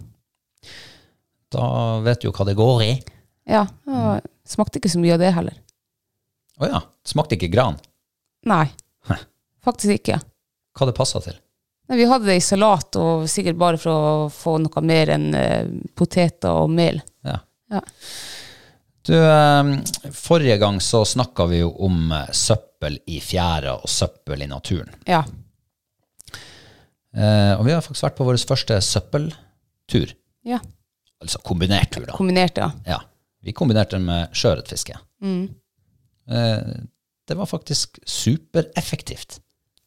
[SPEAKER 2] Da vet du jo hva det går i.
[SPEAKER 3] Ja, ja, Smakte ikke så mye av det heller.
[SPEAKER 2] Å ja. Smakte ikke gran.
[SPEAKER 3] Nei,
[SPEAKER 2] Hæ.
[SPEAKER 3] faktisk ikke.
[SPEAKER 2] Hva det passer til.
[SPEAKER 3] Nei, vi hadde det i salat, og sikkert bare for å få noe mer enn eh, poteter og mel.
[SPEAKER 2] Ja.
[SPEAKER 3] Ja.
[SPEAKER 2] Du, eh, forrige gang så snakka vi jo om eh, søppel i fjæra og søppel i naturen.
[SPEAKER 3] ja.
[SPEAKER 2] Eh, og vi har faktisk vært på vår første søppeltur.
[SPEAKER 3] ja.
[SPEAKER 2] Altså kombinert tur, da.
[SPEAKER 3] Kombinert, ja.
[SPEAKER 2] Ja. Vi kombinerte den med sjøørretfiske. Eh, det var faktisk supereffektivt.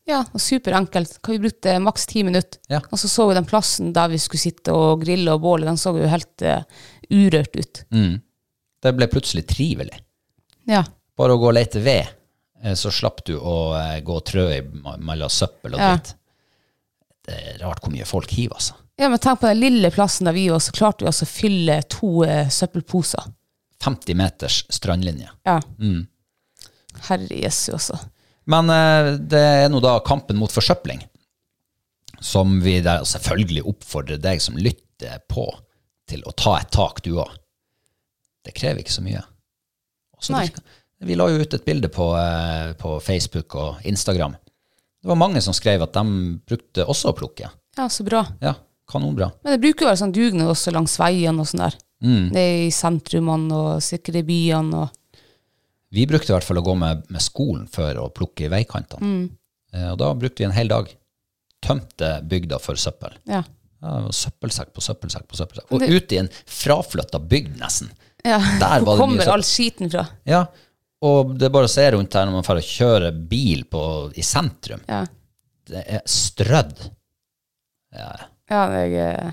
[SPEAKER 3] Ja, og superenkelt. Hva Vi brukte maks ti minutter.
[SPEAKER 2] Ja.
[SPEAKER 3] Og så så vi den plassen der vi skulle sitte og grille og båle, den så jo helt eh, urørt ut.
[SPEAKER 2] Mm. Det ble plutselig trivelig.
[SPEAKER 3] Ja.
[SPEAKER 2] Bare å gå og lete ved, eh, så slapp du å eh, gå og trø i ma- mellom søppel og
[SPEAKER 3] Ja.
[SPEAKER 2] dritt. Det er rart hvor mye folk hiver, altså.
[SPEAKER 3] ja, men tenk på den lille plassen der vi var, så klarte vi altså å fylle to eh, søppelposer.
[SPEAKER 2] 50 meters strandlinje.
[SPEAKER 3] Ja.
[SPEAKER 2] Mm.
[SPEAKER 3] Herre Jesu, altså.
[SPEAKER 2] Men eh, det er nå da kampen mot forsøpling, som vi da selvfølgelig oppfordrer deg som lytter på, til å ta et tak, du òg. Det krever ikke så mye. Også
[SPEAKER 3] Nei.
[SPEAKER 2] virker- Vi la jo ut et bilde på, eh, på Facebook og Instagram. Det var mange som skrev at de brukte også å plukke.
[SPEAKER 3] Ja, så bra.
[SPEAKER 2] Ja, kanonbra.
[SPEAKER 3] Men det bruker jo å være sånn dugnad også langs veien og sånn der.
[SPEAKER 2] Mm.
[SPEAKER 3] Det er I sentrumene og sikkert i byene og
[SPEAKER 2] Vi brukte i hvert fall å gå med, med skolen før å plukke i veikantene. Eh, og da brukte vi en hel dag. Tømte bygda for søppel.
[SPEAKER 3] Ja.
[SPEAKER 2] Ja, det var søppelsekk på søppelsekk på søppelsekk. Og
[SPEAKER 3] Men det-
[SPEAKER 2] ut i en fraflytta bygd, nesten.
[SPEAKER 3] ja.
[SPEAKER 2] Der var det mye søppel.
[SPEAKER 3] Hvor kommer altså- all skiten fra?
[SPEAKER 2] Ja, og det er bare å se rundt her når man får kjøre bil på, i sentrum.
[SPEAKER 3] Ja.
[SPEAKER 2] Det er strødd. Ja,
[SPEAKER 3] Ja, jeg, eh,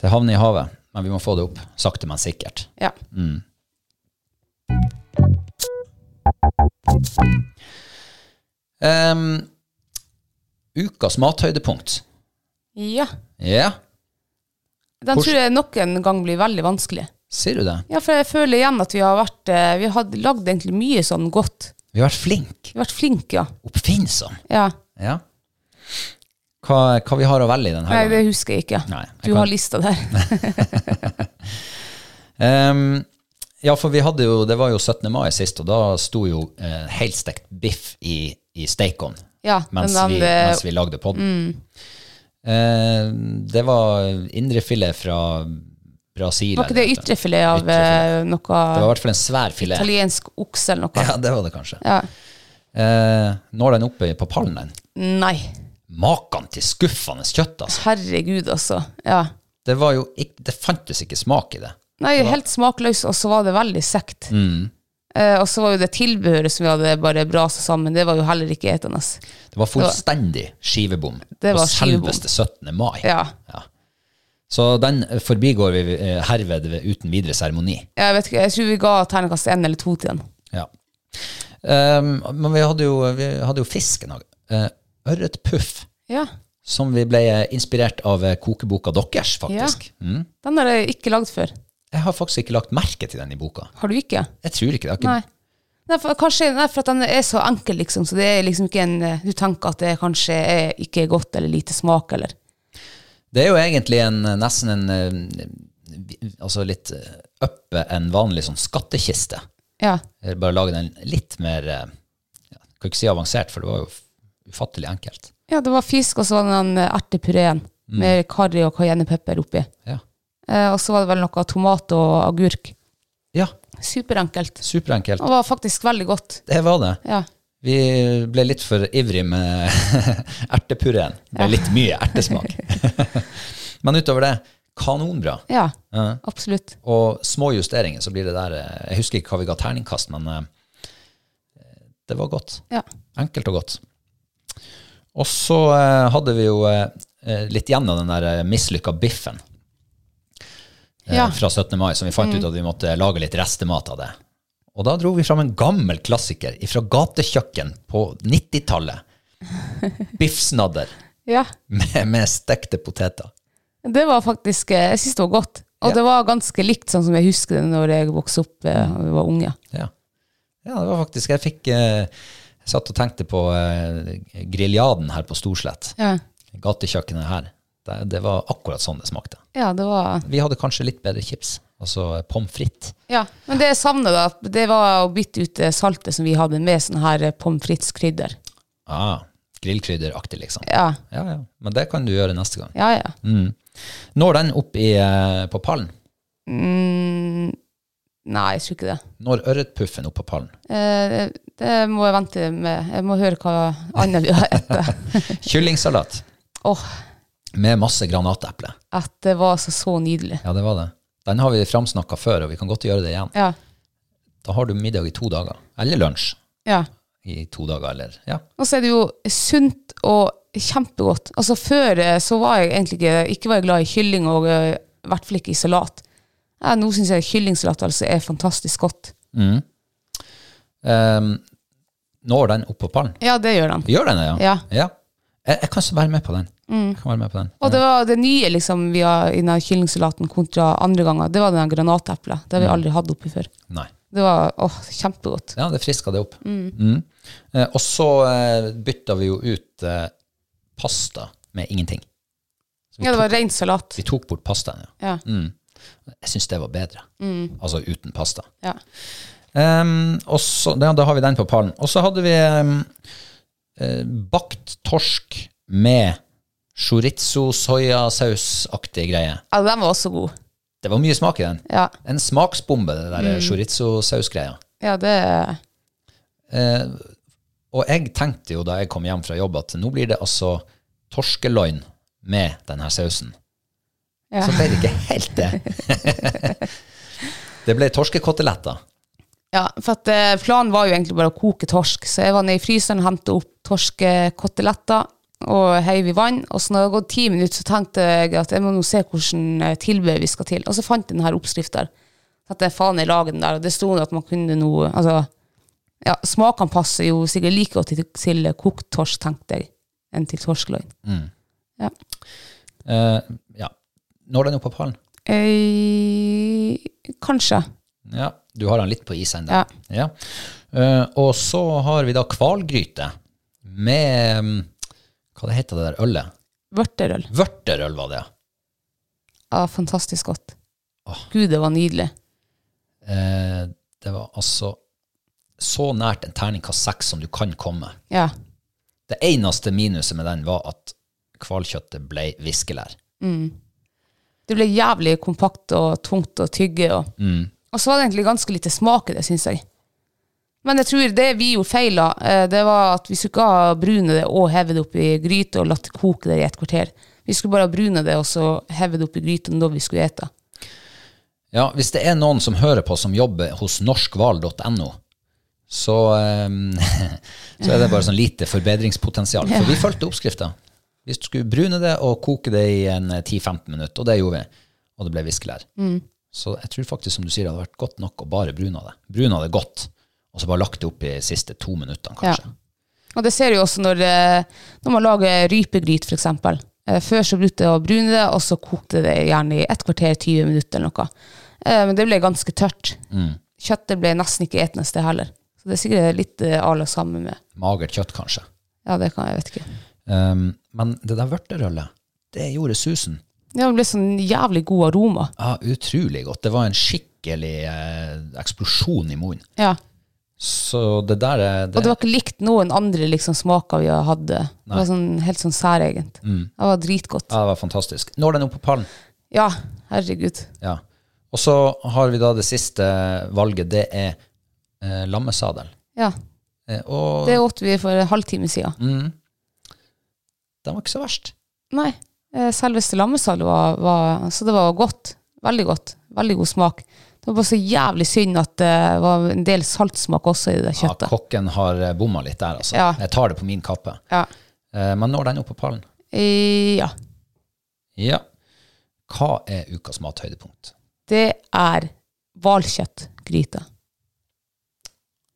[SPEAKER 2] det havner i havet, men vi må få det opp. Sakte, men sikkert.
[SPEAKER 3] ja.
[SPEAKER 2] Ehm, ukas mathøydepunkt.
[SPEAKER 3] ja.
[SPEAKER 2] Ja,
[SPEAKER 3] Den
[SPEAKER 2] Hvordan-
[SPEAKER 3] tror jeg nok en gang blir veldig vanskelig.
[SPEAKER 2] sier du det?
[SPEAKER 3] Ja, for jeg føler igjen at vi har vært eh, Vi har lagd egentlig mye sånn godt.
[SPEAKER 2] Vi har vært flinke.
[SPEAKER 3] Vi har vært flinke, ja.
[SPEAKER 2] Oppfinnsomme.
[SPEAKER 3] ja.
[SPEAKER 2] Ja. Hva, hva vi har å velge i denne
[SPEAKER 3] Nei,
[SPEAKER 2] gangen?
[SPEAKER 3] det husker jeg ikke.
[SPEAKER 2] Nei, jeg
[SPEAKER 3] du
[SPEAKER 2] kan-
[SPEAKER 3] har lista der.
[SPEAKER 2] Ehm, ja, for vi hadde jo, det var jo 17. mai sist, og da sto jo eh, helstekt biff i, i steikovn
[SPEAKER 3] Ja,
[SPEAKER 2] mens,
[SPEAKER 3] den mm.
[SPEAKER 2] vi-
[SPEAKER 3] hadde-
[SPEAKER 2] mens vi lagde Ehm, podden. Eh, det var indrefilet fra Brasil.
[SPEAKER 3] Var ikke det
[SPEAKER 2] eller noe.
[SPEAKER 3] ytrefilet av
[SPEAKER 2] Ytrefilet.
[SPEAKER 3] eh,
[SPEAKER 2] Det var i
[SPEAKER 3] noe
[SPEAKER 2] hvert fall en svær filet.
[SPEAKER 3] italiensk okse eller noe?
[SPEAKER 2] Ja, det var det kanskje.
[SPEAKER 3] Ja.
[SPEAKER 2] Eh, når den oppe på pallen, den.
[SPEAKER 3] Nei.
[SPEAKER 2] Makan til skuffende kjøtt, altså.
[SPEAKER 3] Herregud, altså. Ja.
[SPEAKER 2] Det, var jo ikk- det fantes ikke smak i det. Mm.
[SPEAKER 3] Nei, helt smakløs, og så var det veldig sekt. Eh, og så var jo det tilbehøret som vi hadde bare brasa sammen, det var jo heller ikke etende.
[SPEAKER 2] Det var fullstendig skivebom
[SPEAKER 3] Det var
[SPEAKER 2] på
[SPEAKER 3] skivebom.
[SPEAKER 2] selveste 17. mai.
[SPEAKER 3] Ja.
[SPEAKER 2] Så den forbigår vi eh, herved uten videre seremoni.
[SPEAKER 3] Jeg vet ikke, jeg tror vi ga terningkast én eller to til den.
[SPEAKER 2] Ja. Ehm, men vi hadde jo, vi hadde jo fisk en dag. Eh, Ørretpuff,
[SPEAKER 3] Ja.
[SPEAKER 2] som vi ble eh, inspirert av eh, kokeboka deres, faktisk. Mm.
[SPEAKER 3] Den har jeg ikke lagd før.
[SPEAKER 2] Jeg har faktisk ikke lagt merke til den i boka.
[SPEAKER 3] Har du ikke?
[SPEAKER 2] Jeg tror ikke det. Jeg har ikke
[SPEAKER 3] Nei. Nei, for, kanskje, nei, for at den er så enkel, liksom. Så det er liksom ikke en eh, Du tenker at det kanskje er ikke godt eller lite smak, eller
[SPEAKER 2] Det er jo egentlig en, nesten en eh, vi- Altså litt eh, oppe en vanlig sånn skattkiste.
[SPEAKER 3] Ja.
[SPEAKER 2] Eller Bare lage den litt mer eh, ja, Kan ikke si avansert, for det var jo f- ufattelig enkelt.
[SPEAKER 3] ja, det var fisk, og så var det den eh, ertepureen med karri og cayennepepper oppi.
[SPEAKER 2] Mm. Ja,
[SPEAKER 3] Eh, og så var det vel noe tomat og agurk.
[SPEAKER 2] ja
[SPEAKER 3] Superenkelt.
[SPEAKER 2] superenkelt.
[SPEAKER 3] Det var faktisk veldig godt.
[SPEAKER 2] Det var det.
[SPEAKER 3] Ja.
[SPEAKER 2] Vi ble litt for ivrig med ertepureen. Det ble litt mye ertesmak. Men utover det, kanonbra.
[SPEAKER 3] ja.
[SPEAKER 2] Ja.
[SPEAKER 3] Absolutt.
[SPEAKER 2] Og små justeringer, så blir det der eh, Jeg husker ikke hva vi ga terningkast, men eh, det var godt.
[SPEAKER 3] Ja.
[SPEAKER 2] Enkelt og godt. Og så eh, hadde vi jo eh, eh, litt igjen av den der eh, mislykka biffen eh,
[SPEAKER 3] Ja.
[SPEAKER 2] fra 17. mai, som vi fant ut at vi måtte lage litt restemat av det. Og da dro vi fram en gammel klassiker fra gatekjøkken på 90-tallet. Biffsnadder
[SPEAKER 3] ja.
[SPEAKER 2] med, med stekte poteter.
[SPEAKER 3] Det var faktisk eh, Jeg syns det var godt. Og
[SPEAKER 2] Ja.
[SPEAKER 3] det var ganske likt sånn som jeg husker det når jeg vokste opp eh, og vi var unge.
[SPEAKER 2] Ja. ja, det var faktisk Jeg fikk eh, Jeg satt og tenkte på eh, Griliaden her på Storslett.
[SPEAKER 3] Ja.
[SPEAKER 2] Gatekjøkkenet her. Det, det var akkurat sånn det smakte.
[SPEAKER 3] ja, det var
[SPEAKER 2] Vi hadde kanskje litt bedre chips. Altså eh, pommes frites.
[SPEAKER 3] Ja, men det jeg savner da, det var å bytte ut det saltet som vi hadde med sånn her eh, pommes frites-krydder.
[SPEAKER 2] Ah, Grillkrydderaktig, liksom.
[SPEAKER 3] Ja,
[SPEAKER 2] Ja, ja. Men det kan du gjøre neste gang.
[SPEAKER 3] ja, ja.
[SPEAKER 2] Når den opp i, eh, på pallen?
[SPEAKER 3] Nei, jeg tror ikke det.
[SPEAKER 2] Når ørretpuffen opp på pallen?
[SPEAKER 3] Eh, det må jeg vente med. Jeg må høre hva annet vi har etter.
[SPEAKER 2] Kyllingsalat
[SPEAKER 3] Åh,
[SPEAKER 2] med masse granateple.
[SPEAKER 3] at det var så, så nydelig.
[SPEAKER 2] Ja, det var det. Den har vi framsnakka før, og vi kan godt gjøre det igjen.
[SPEAKER 3] Ja,
[SPEAKER 2] Da har du middag i to dager. Eller lunsj
[SPEAKER 3] ja.
[SPEAKER 2] i to dager, eller Ja.
[SPEAKER 3] Og så er det jo sunt og kjempegodt. Altså Før eh, så var jeg egentlig ikke, ikke var jeg glad i kylling, og eh, i hvert fall ikke i salat. Ja, nå syns jeg kyllingsalat altså er fantastisk godt.
[SPEAKER 2] Ehm, når den opp på pallen?
[SPEAKER 3] Ja, det gjør den.
[SPEAKER 2] Gjør den det, ja?
[SPEAKER 3] Ja.
[SPEAKER 2] Jeg, jeg kan så være med på den. Jeg kan være med på den.
[SPEAKER 3] Og det var det nye liksom, vi har i den kyllingsalaten kontra andre ganger, det var den granateplet. Det har vi
[SPEAKER 2] Mm.
[SPEAKER 3] aldri hatt oppi før.
[SPEAKER 2] Nei.
[SPEAKER 3] Det var åh, kjempegodt.
[SPEAKER 2] Ja, det friska det opp. Mm. Eh, og så eh, bytta vi jo ut eh, pasta med ingenting.
[SPEAKER 3] Ja, det var ren salat.
[SPEAKER 2] Vi tok Mm. bort pastaen, ja.
[SPEAKER 3] Ja.
[SPEAKER 2] Jeg syns det var bedre. Altså uten pasta.
[SPEAKER 3] Ja.
[SPEAKER 2] Ehm, og så, ja, da har vi den på pallen. Og så hadde vi ehm, eh, bakt torsk med chorizo-soyasausaktige greier.
[SPEAKER 3] ja, den var også god.
[SPEAKER 2] Det var mye smak i den.
[SPEAKER 3] Ja,
[SPEAKER 2] En smaksbombe, det der eh, chorizo-sausgreia.
[SPEAKER 3] ja det
[SPEAKER 2] Eh, Og jeg tenkte jo da jeg kom hjem fra jobb, at nå blir det altså torskeloin med denne sausen.
[SPEAKER 3] ja.
[SPEAKER 2] Så ble det ikke helt det. det ble torskekoteletter.
[SPEAKER 3] Ja, for at eh, planen var jo egentlig bare å koke torsk, så jeg var nede i fryseren og hentet opp torskekoteletter og heiv i vann, og så når det hadde gått ti minutter så tenkte jeg at jeg må nå se hvordan eh, tilbehør vi skal til, og så fant jeg denne oppskriften. Så at jeg faen jeg laget den der, og det sto at man kunne noe, altså, ja, smakene passer jo sikkert like godt til, til kokt torsk, tenkte jeg, enn til torskeløgn. Ja.
[SPEAKER 2] Eh, ja. Når den er oppe på pallen?
[SPEAKER 3] Eh, kanskje.
[SPEAKER 2] Ja, du har den litt på is ennå.
[SPEAKER 3] Ja.
[SPEAKER 2] Ja. Eh, og så har vi da kvalgryte med mm, Hva det heter det der ølet?
[SPEAKER 3] Vørterøl.
[SPEAKER 2] Vørterøl var det.
[SPEAKER 3] Ja, fantastisk godt.
[SPEAKER 2] Åh.
[SPEAKER 3] Gud, det var nydelig.
[SPEAKER 2] Eh, det var altså så nært en terningkast seks som du kan komme.
[SPEAKER 3] Ja.
[SPEAKER 2] Det eneste minuset med den var at hvalkjøttet ble viskelær.
[SPEAKER 3] Det ble jævlig kompakt og tungt å tygge. Og, og så var det egentlig ganske lite smak i det, syns jeg. Men jeg tror det vi gjorde feil av, eh, det var at vi skulle ikke ha brune det og heve det opp i gryte og latt det koke der i et kvarter. Vi skulle bare ha brune det og så heve det opp i gryta når vi skulle ete.
[SPEAKER 2] Ja, hvis det er noen som hører på som jobber hos norskval.no, så, eh, så er det bare sånn lite forbedringspotensial. For vi fulgte oppskrifta. Vi skulle brune det og koke det i en 10-15 minutter, og det gjorde vi. Og det ble viskelær. Så jeg tror faktisk, som du sier, det hadde vært godt nok å bare brune det. Brune det godt, og så bare lagt det opp i de siste to minuttene, kanskje.
[SPEAKER 3] Og det ser du jo også når, eh, når man lager rypegryt, for eksempel. Eh, Før så brukte jeg å brune det, og så kokte det gjerne i et kvarter, 20 minutter eller noe. Eh, Men det ble ganske tørt. Kjøttet ble nesten ikke etende sted heller. Så det er sikkert litt eh, à la samme med
[SPEAKER 2] Magert kjøtt, kanskje.
[SPEAKER 3] Ja, det kan jeg vet ikke.
[SPEAKER 2] Um, men det der vørterøllet, det gjorde susen.
[SPEAKER 3] Ja, det ble sånn jævlig god aroma.
[SPEAKER 2] Ja, utrolig godt. Det var en skikkelig eh, eksplosjon i munnen.
[SPEAKER 3] Ja.
[SPEAKER 2] Så det der er
[SPEAKER 3] Og
[SPEAKER 2] det,
[SPEAKER 3] det var ikke likt noen andre liksom, smaker vi hadde. Det var sånn, helt sånn særegent. Det var dritgodt.
[SPEAKER 2] ja, det var fantastisk. Når den opp på pallen.
[SPEAKER 3] Ja, herregud.
[SPEAKER 2] Ja. Og så har vi da det siste valget. Det er eh, lammesadel.
[SPEAKER 3] Ja,
[SPEAKER 2] Eh, og
[SPEAKER 3] det åt vi for en halvtime siden.
[SPEAKER 2] mm, den var ikke så verst.
[SPEAKER 3] Nei, eh, selveste lammesalet var, var Så det var godt. Veldig godt. Veldig god smak. Det var bare så jævlig synd at det var en del saltsmak også i det
[SPEAKER 2] Ja,
[SPEAKER 3] kjøttet.
[SPEAKER 2] kokken har eh, bomma litt der, altså.
[SPEAKER 3] Ja.
[SPEAKER 2] Jeg tar det på min kappe.
[SPEAKER 3] Ja.
[SPEAKER 2] Eh, men når den opp på pallen.
[SPEAKER 3] Eh, ja.
[SPEAKER 2] Ja. Hva er ukas mathøydepunkt?
[SPEAKER 3] Det er hvalkjøttgryte.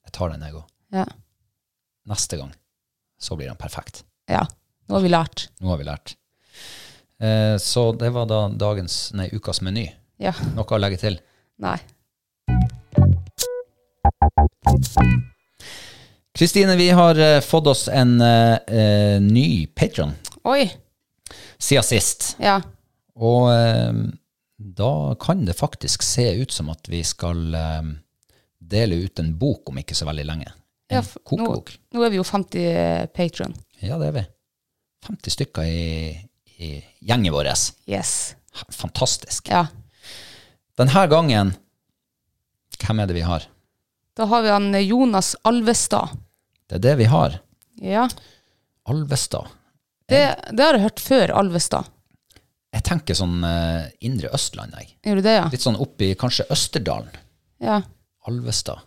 [SPEAKER 2] Jeg tar den, jeg òg.
[SPEAKER 3] Ja.
[SPEAKER 2] Neste gang så blir den perfekt.
[SPEAKER 3] ja. Nå har vi lært.
[SPEAKER 2] Nå har vi lært. Eh, så det var da dagens, nei, ukas meny.
[SPEAKER 3] Ja.
[SPEAKER 2] Noe å legge til.
[SPEAKER 3] Nei.
[SPEAKER 2] Kristine, vi har eh, fått oss en eh, eh, ny patron
[SPEAKER 3] Oi.
[SPEAKER 2] siden sist.
[SPEAKER 3] Ja.
[SPEAKER 2] Og eh, da kan det faktisk se ut som at vi skal eh, dele ut en bok om ikke så veldig lenge. En
[SPEAKER 3] Ja, for- nå-
[SPEAKER 2] kokebok.
[SPEAKER 3] Nå er vi jo eh, 50 patron.
[SPEAKER 2] Ja, det er vi. 50 stykker i, i gjengen vår.
[SPEAKER 3] Yes.
[SPEAKER 2] Fantastisk.
[SPEAKER 3] Ja.
[SPEAKER 2] Denne gangen, hvem er det vi har?
[SPEAKER 3] Da har vi han eh, Jonas Alvestad.
[SPEAKER 2] Det er det vi har.
[SPEAKER 3] Ja.
[SPEAKER 2] Alvestad.
[SPEAKER 3] Det, det har jeg hørt før Alvestad.
[SPEAKER 2] Jeg tenker sånn eh, indre Østland, jeg.
[SPEAKER 3] Gjør du det, ja?
[SPEAKER 2] Litt sånn oppi kanskje Østerdalen.
[SPEAKER 3] ja?
[SPEAKER 2] Alvestad.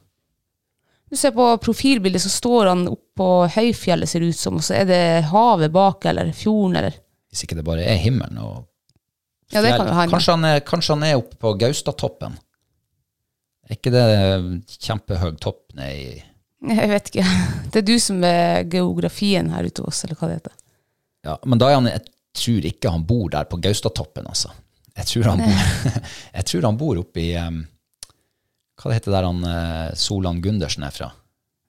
[SPEAKER 3] Du ser på profilbildet, så står han oppå høyfjellet, ser det ut som, og så er det havet bak, eller fjorden, eller
[SPEAKER 2] Hvis ikke det bare er himmelen og
[SPEAKER 3] Ja, det kan jo hende.
[SPEAKER 2] Kanskje han er, kanskje han er oppe på Gaustatoppen. Er ikke det kjempehøy topp nede i
[SPEAKER 3] Jeg vet ikke. Det er du som er geografien her ute hos oss, eller hva det heter.
[SPEAKER 2] Ja, men da er han Jeg tror ikke han bor der på Gaustatoppen, altså. Jeg tror han bor, jeg tror han bor oppe i um, Hva det heter der han eh, Solan Gundersen er fra?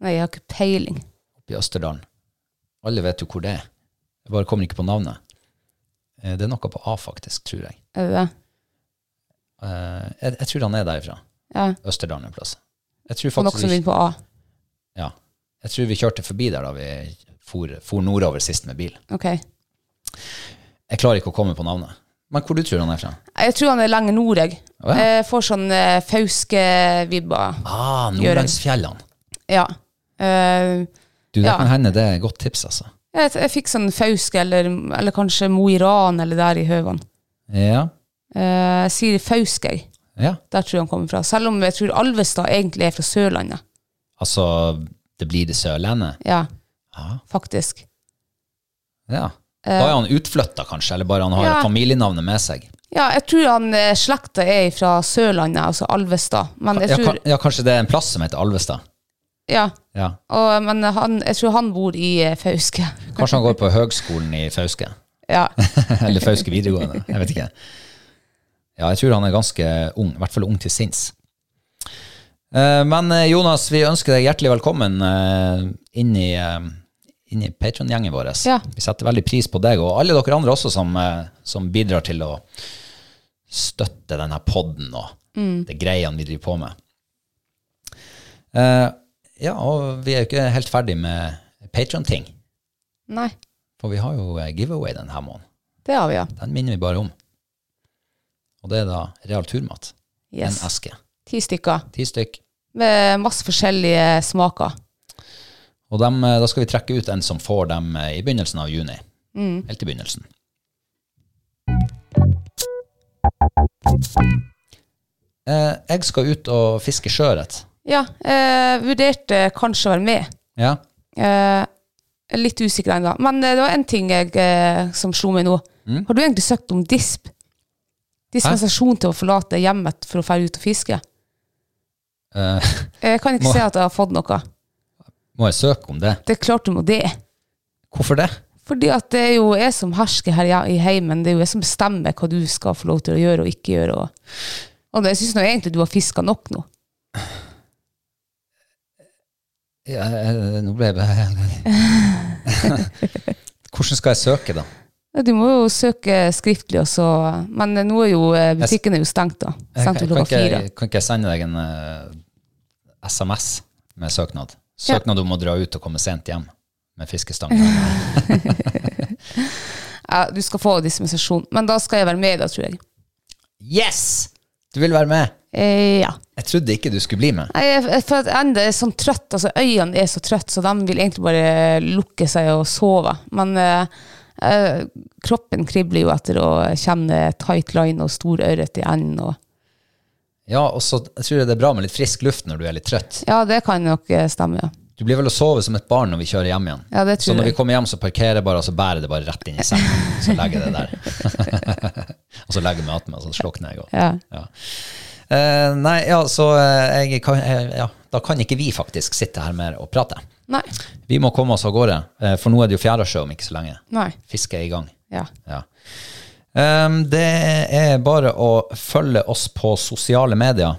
[SPEAKER 3] Nei, jeg har ikke peiling.
[SPEAKER 2] Oppe i Østerdalen. Alle vet jo hvor det er. Jeg bare kommer ikke på navnet. Eh, Det er noe på A, faktisk, tror jeg.
[SPEAKER 3] Er det det?
[SPEAKER 2] Eh, jeg, jeg tror han er derifra.
[SPEAKER 3] Ja.
[SPEAKER 2] Østerdalen en plass. Jeg tror
[SPEAKER 3] Og noe
[SPEAKER 2] faktisk
[SPEAKER 3] som
[SPEAKER 2] vi,
[SPEAKER 3] begynner på A.
[SPEAKER 2] ja, jeg tror vi kjørte forbi der da vi for, for nordover sist med bil.
[SPEAKER 3] Ok.
[SPEAKER 2] Jeg klarer ikke å komme på navnet. Men hvor du tror han er fra?
[SPEAKER 3] Jeg tror han er lenger nord, jeg.
[SPEAKER 2] Å, ja.
[SPEAKER 3] Jeg får sånn eh, Fauske-vibber.
[SPEAKER 2] Ah, Nordlandsfjellene.
[SPEAKER 3] Ja. Eh,
[SPEAKER 2] Du, det
[SPEAKER 3] Ja.
[SPEAKER 2] kan hende det er et godt tips, altså.
[SPEAKER 3] jeg, jeg fikk sånn Fauske, eller, eller kanskje Mo i Rana, eller der i Høvan.
[SPEAKER 2] Ja,
[SPEAKER 3] Eh, jeg sier Fauske, jeg.
[SPEAKER 2] ja.
[SPEAKER 3] Der tror jeg han kommer fra. Selv om jeg tror Alvestad egentlig er fra Sørlandet.
[SPEAKER 2] Altså, det blir det Sørlandet.
[SPEAKER 3] Ja,
[SPEAKER 2] Ja.
[SPEAKER 3] faktisk.
[SPEAKER 2] ja. Da er han utflytta, kanskje, eller bare han har
[SPEAKER 3] Eh. Ja.
[SPEAKER 2] familienavnet med seg.
[SPEAKER 3] Ja, jeg tror han eh, slekta er fra Sørlandet, altså Alvestad. Men jeg
[SPEAKER 2] Ja,
[SPEAKER 3] tror,
[SPEAKER 2] kan, ja, kanskje det er en plass som heter Alvestad.
[SPEAKER 3] ja,
[SPEAKER 2] Ja.
[SPEAKER 3] og, men han, jeg tror han bor i eh, Fauske.
[SPEAKER 2] Kanskje han går på høgskolen i Fauske.
[SPEAKER 3] Ja.
[SPEAKER 2] Eller Fauske videregående. Jeg vet ikke. Ja, jeg tror han er ganske ung. I hvert fall ung til sinns. Eh, Men eh, Jonas, vi ønsker deg hjertelig velkommen eh, inn i, eh, inn i Patron-gjengen vår.
[SPEAKER 3] Ja.
[SPEAKER 2] Vi setter veldig pris på deg, og alle dere andre også som, eh, som bidrar til å støtte denne podden og det greiene vi driver på med. Eh, Ja, og vi er jo ikke helt ferdig med Patron-ting,
[SPEAKER 3] Nei,
[SPEAKER 2] for vi har jo eh, giveaway denne måneden.
[SPEAKER 3] det har vi, ja.
[SPEAKER 2] Den minner vi bare om. Og det er da real turmat.
[SPEAKER 3] Yes.
[SPEAKER 2] En eske.
[SPEAKER 3] Ti stykker
[SPEAKER 2] Ti stykk.
[SPEAKER 3] med masse forskjellige smaker.
[SPEAKER 2] Og dem, eh, da skal vi trekke ut en som får dem eh, i begynnelsen av juni. Helt i begynnelsen. Eh, jeg skal ut og fiske sjøørret.
[SPEAKER 3] Ja, eh, vurderte kanskje å være med.
[SPEAKER 2] Ja.
[SPEAKER 3] Eh, jeg er litt usikker ennå. Men eh, det var en ting jeg, eh, som slo meg nå.
[SPEAKER 2] Mm.
[SPEAKER 3] Har du egentlig søkt om DISP? Dispensasjon til å forlate hjemmet for å dra ut og fiske?
[SPEAKER 2] Eh,
[SPEAKER 3] Jeg kan ikke
[SPEAKER 2] Må-
[SPEAKER 3] se at jeg har fått noe.
[SPEAKER 2] må jeg søke om det?
[SPEAKER 3] Det er klart du må det.
[SPEAKER 2] Hvorfor det?
[SPEAKER 3] Fordi at det er jo jeg som hersker her i- i heimen. Det er jo jeg som bestemmer hva du skal få lov til å gjøre og ikke gjøre. Og, og det, jeg syns egentlig du har fiska nok nå.
[SPEAKER 2] Ja, eh, nå ble jeg bare Hvordan skal jeg søke, da?
[SPEAKER 3] Ja, Du må jo søke skriftlig også, men eh, nå er jo eh, butikken er jo stengt, da.
[SPEAKER 2] Jeg kan,
[SPEAKER 3] Stengt til klokka
[SPEAKER 2] kan ikke,
[SPEAKER 3] fire.
[SPEAKER 2] kan ikke jeg sende deg en eh, SMS med søknad? Søknad om å dra ut og komme sent hjem med fiskestang.
[SPEAKER 3] Ja, du skal få dispensasjon, men da skal jeg være med, da, tror jeg.
[SPEAKER 2] Yes! Du vil være med?
[SPEAKER 3] Eh, ja.
[SPEAKER 2] Jeg trodde ikke du skulle bli med.
[SPEAKER 3] Nei, jeg, jeg- for at enda er sånn trøtt, altså øynene er så trøtt, så de vil egentlig bare lukke seg og sove. Men eh, eh, kroppen kribler jo etter å kjenne tight line og stor ørret i enden. Og,
[SPEAKER 2] Ja, og så jeg tror jeg det er bra med litt frisk luft når du er litt trøtt.
[SPEAKER 3] ja, det kan nok eh, stemme, ja.
[SPEAKER 2] Du blir vel å sove som et barn når vi kjører hjem igjen.
[SPEAKER 3] Ja, det
[SPEAKER 2] Så
[SPEAKER 3] tror
[SPEAKER 2] når vi
[SPEAKER 3] jeg.
[SPEAKER 2] kommer hjem, så parkerer jeg bare, og så bærer det bare rett inn i sengen. Så legger jeg det der. og så legger jeg meg attmed, og så slukner jeg. Og,
[SPEAKER 3] Ja.
[SPEAKER 2] ja. Eh, nei, ja, så eh, jeg kan, eh, ja, da kan ikke vi faktisk sitte her mer og prate.
[SPEAKER 3] Nei.
[SPEAKER 2] Vi må komme oss av gårde, eh, for nå er det jo Fjærasjø om ikke så lenge.
[SPEAKER 3] Nei.
[SPEAKER 2] Fisket er i gang.
[SPEAKER 3] Ja.
[SPEAKER 2] Ja. Ehm, det er bare å følge oss på sosiale medier.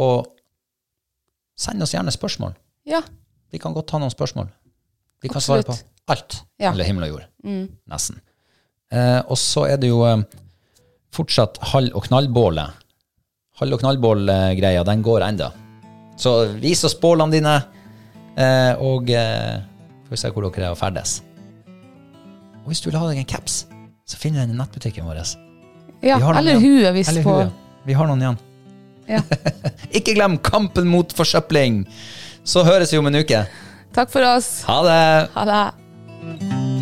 [SPEAKER 2] Og send oss gjerne spørsmål.
[SPEAKER 3] ja.
[SPEAKER 2] Vi kan godt ta noen spørsmål. Vi kan svare
[SPEAKER 3] Absolutt.
[SPEAKER 2] på alt
[SPEAKER 3] Ja. Mm.
[SPEAKER 2] eller himmel og jord. Nesten. Eh, og så er det jo eh, fortsatt hall- og knallbålet. Hall- og knallbål-greia, den går enda. Så vis oss bålene dine, eh, og eh, får vi se hvor dere er og ferdes. Og hvis du vil ha deg en caps, så finner du den i nettbutikken vår. Vi har
[SPEAKER 3] ja.
[SPEAKER 2] noen
[SPEAKER 3] Eller
[SPEAKER 2] igjen.
[SPEAKER 3] huet, hvis
[SPEAKER 2] Eller
[SPEAKER 3] på
[SPEAKER 2] hue. Vi har noen igjen.
[SPEAKER 3] Ja.
[SPEAKER 2] Ikke glem kampen mot forsøpling! Så høres vi om en uke.
[SPEAKER 3] Takk for oss.
[SPEAKER 2] Ha det!
[SPEAKER 3] Ha det.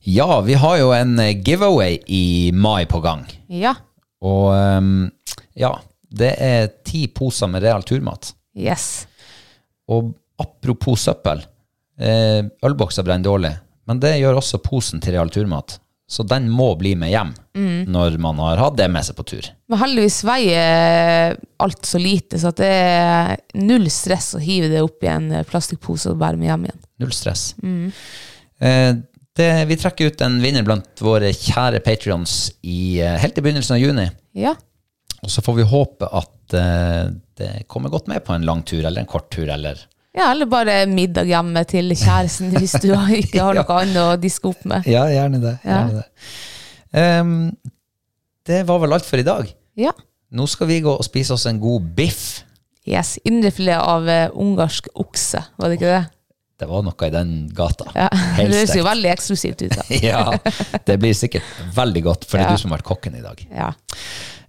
[SPEAKER 2] Ja, vi har jo en eh, giveaway i mai på gang.
[SPEAKER 3] Ja.
[SPEAKER 2] Og ehm, ja, det er ti poser med real turmat.
[SPEAKER 3] Yes.
[SPEAKER 2] Og apropos søppel, eh, ølbokser brenner dårlig, men det gjør også posen til real turmat. Så den må bli med hjem når man har hatt det med seg på tur.
[SPEAKER 3] Men heldigvis veier eh, alt så lite, så at det er null stress å hive det opp i en eh, plastikkpose og bære med hjem igjen.
[SPEAKER 2] Null stress. Eh, det, vi trekker ut en vinner blant våre kjære patrions i, eh, helt i begynnelsen av juni.
[SPEAKER 3] Ja.
[SPEAKER 2] Og så får vi håpe at eh, det kommer godt med på en lang tur eller en kort tur. Eller.
[SPEAKER 3] ja, eller bare middag hjemme til kjæresten hvis du har- ikke har noe annet å diske opp med.
[SPEAKER 2] Ja, gjerne det.
[SPEAKER 3] gjerne
[SPEAKER 2] det var vel alt for i dag.
[SPEAKER 3] Ja.
[SPEAKER 2] Nå skal vi gå og spise oss en god biff.
[SPEAKER 3] Yes. Indrefilet av eh, ungarsk okse, var det ikke det?
[SPEAKER 2] Det var noe i den gata.
[SPEAKER 3] Ja. Det
[SPEAKER 2] Helt
[SPEAKER 3] høres jo
[SPEAKER 2] stekt.
[SPEAKER 3] veldig eksklusivt ut. da.
[SPEAKER 2] Ja, det blir sikkert veldig godt, for det er
[SPEAKER 3] Ja.
[SPEAKER 2] du som har vært kokken i dag.
[SPEAKER 3] Ja.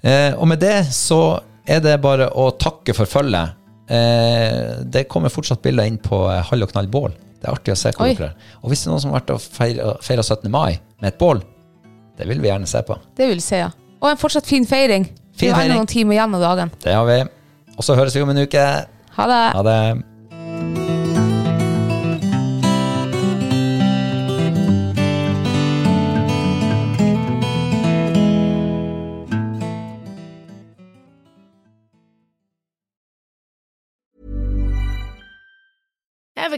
[SPEAKER 2] Eh, og med det så er det bare å takke for følget. Eh, det kommer fortsatt bilder inn på eh, Hall og knall bål. Det er artig å se hva
[SPEAKER 3] Oi.
[SPEAKER 2] dere gjør. Og hvis det er noen som har vært og feira, feira 17. mai med et bål, det vil vi gjerne se på.
[SPEAKER 3] Det vil jeg si, ja. Og en fortsatt fin feiring.
[SPEAKER 2] Fin
[SPEAKER 3] det er jo ennå
[SPEAKER 2] feiring.
[SPEAKER 3] noen timer igjen av dagen.
[SPEAKER 2] Det har vi. Og så høres vi om en uke.
[SPEAKER 3] Ha det.
[SPEAKER 2] Ha det.
[SPEAKER 4] Ever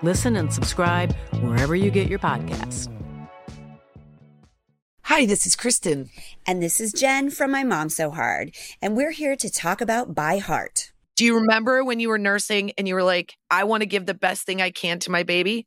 [SPEAKER 5] Listen and subscribe wherever you get your podcasts.
[SPEAKER 6] Hi, this is Kristen.
[SPEAKER 7] And this is Jen from My Mom So Hard, and we're here to talk about By Heart.
[SPEAKER 6] Do you remember when you were nursing and you were like, I want to give the best thing I can to my baby?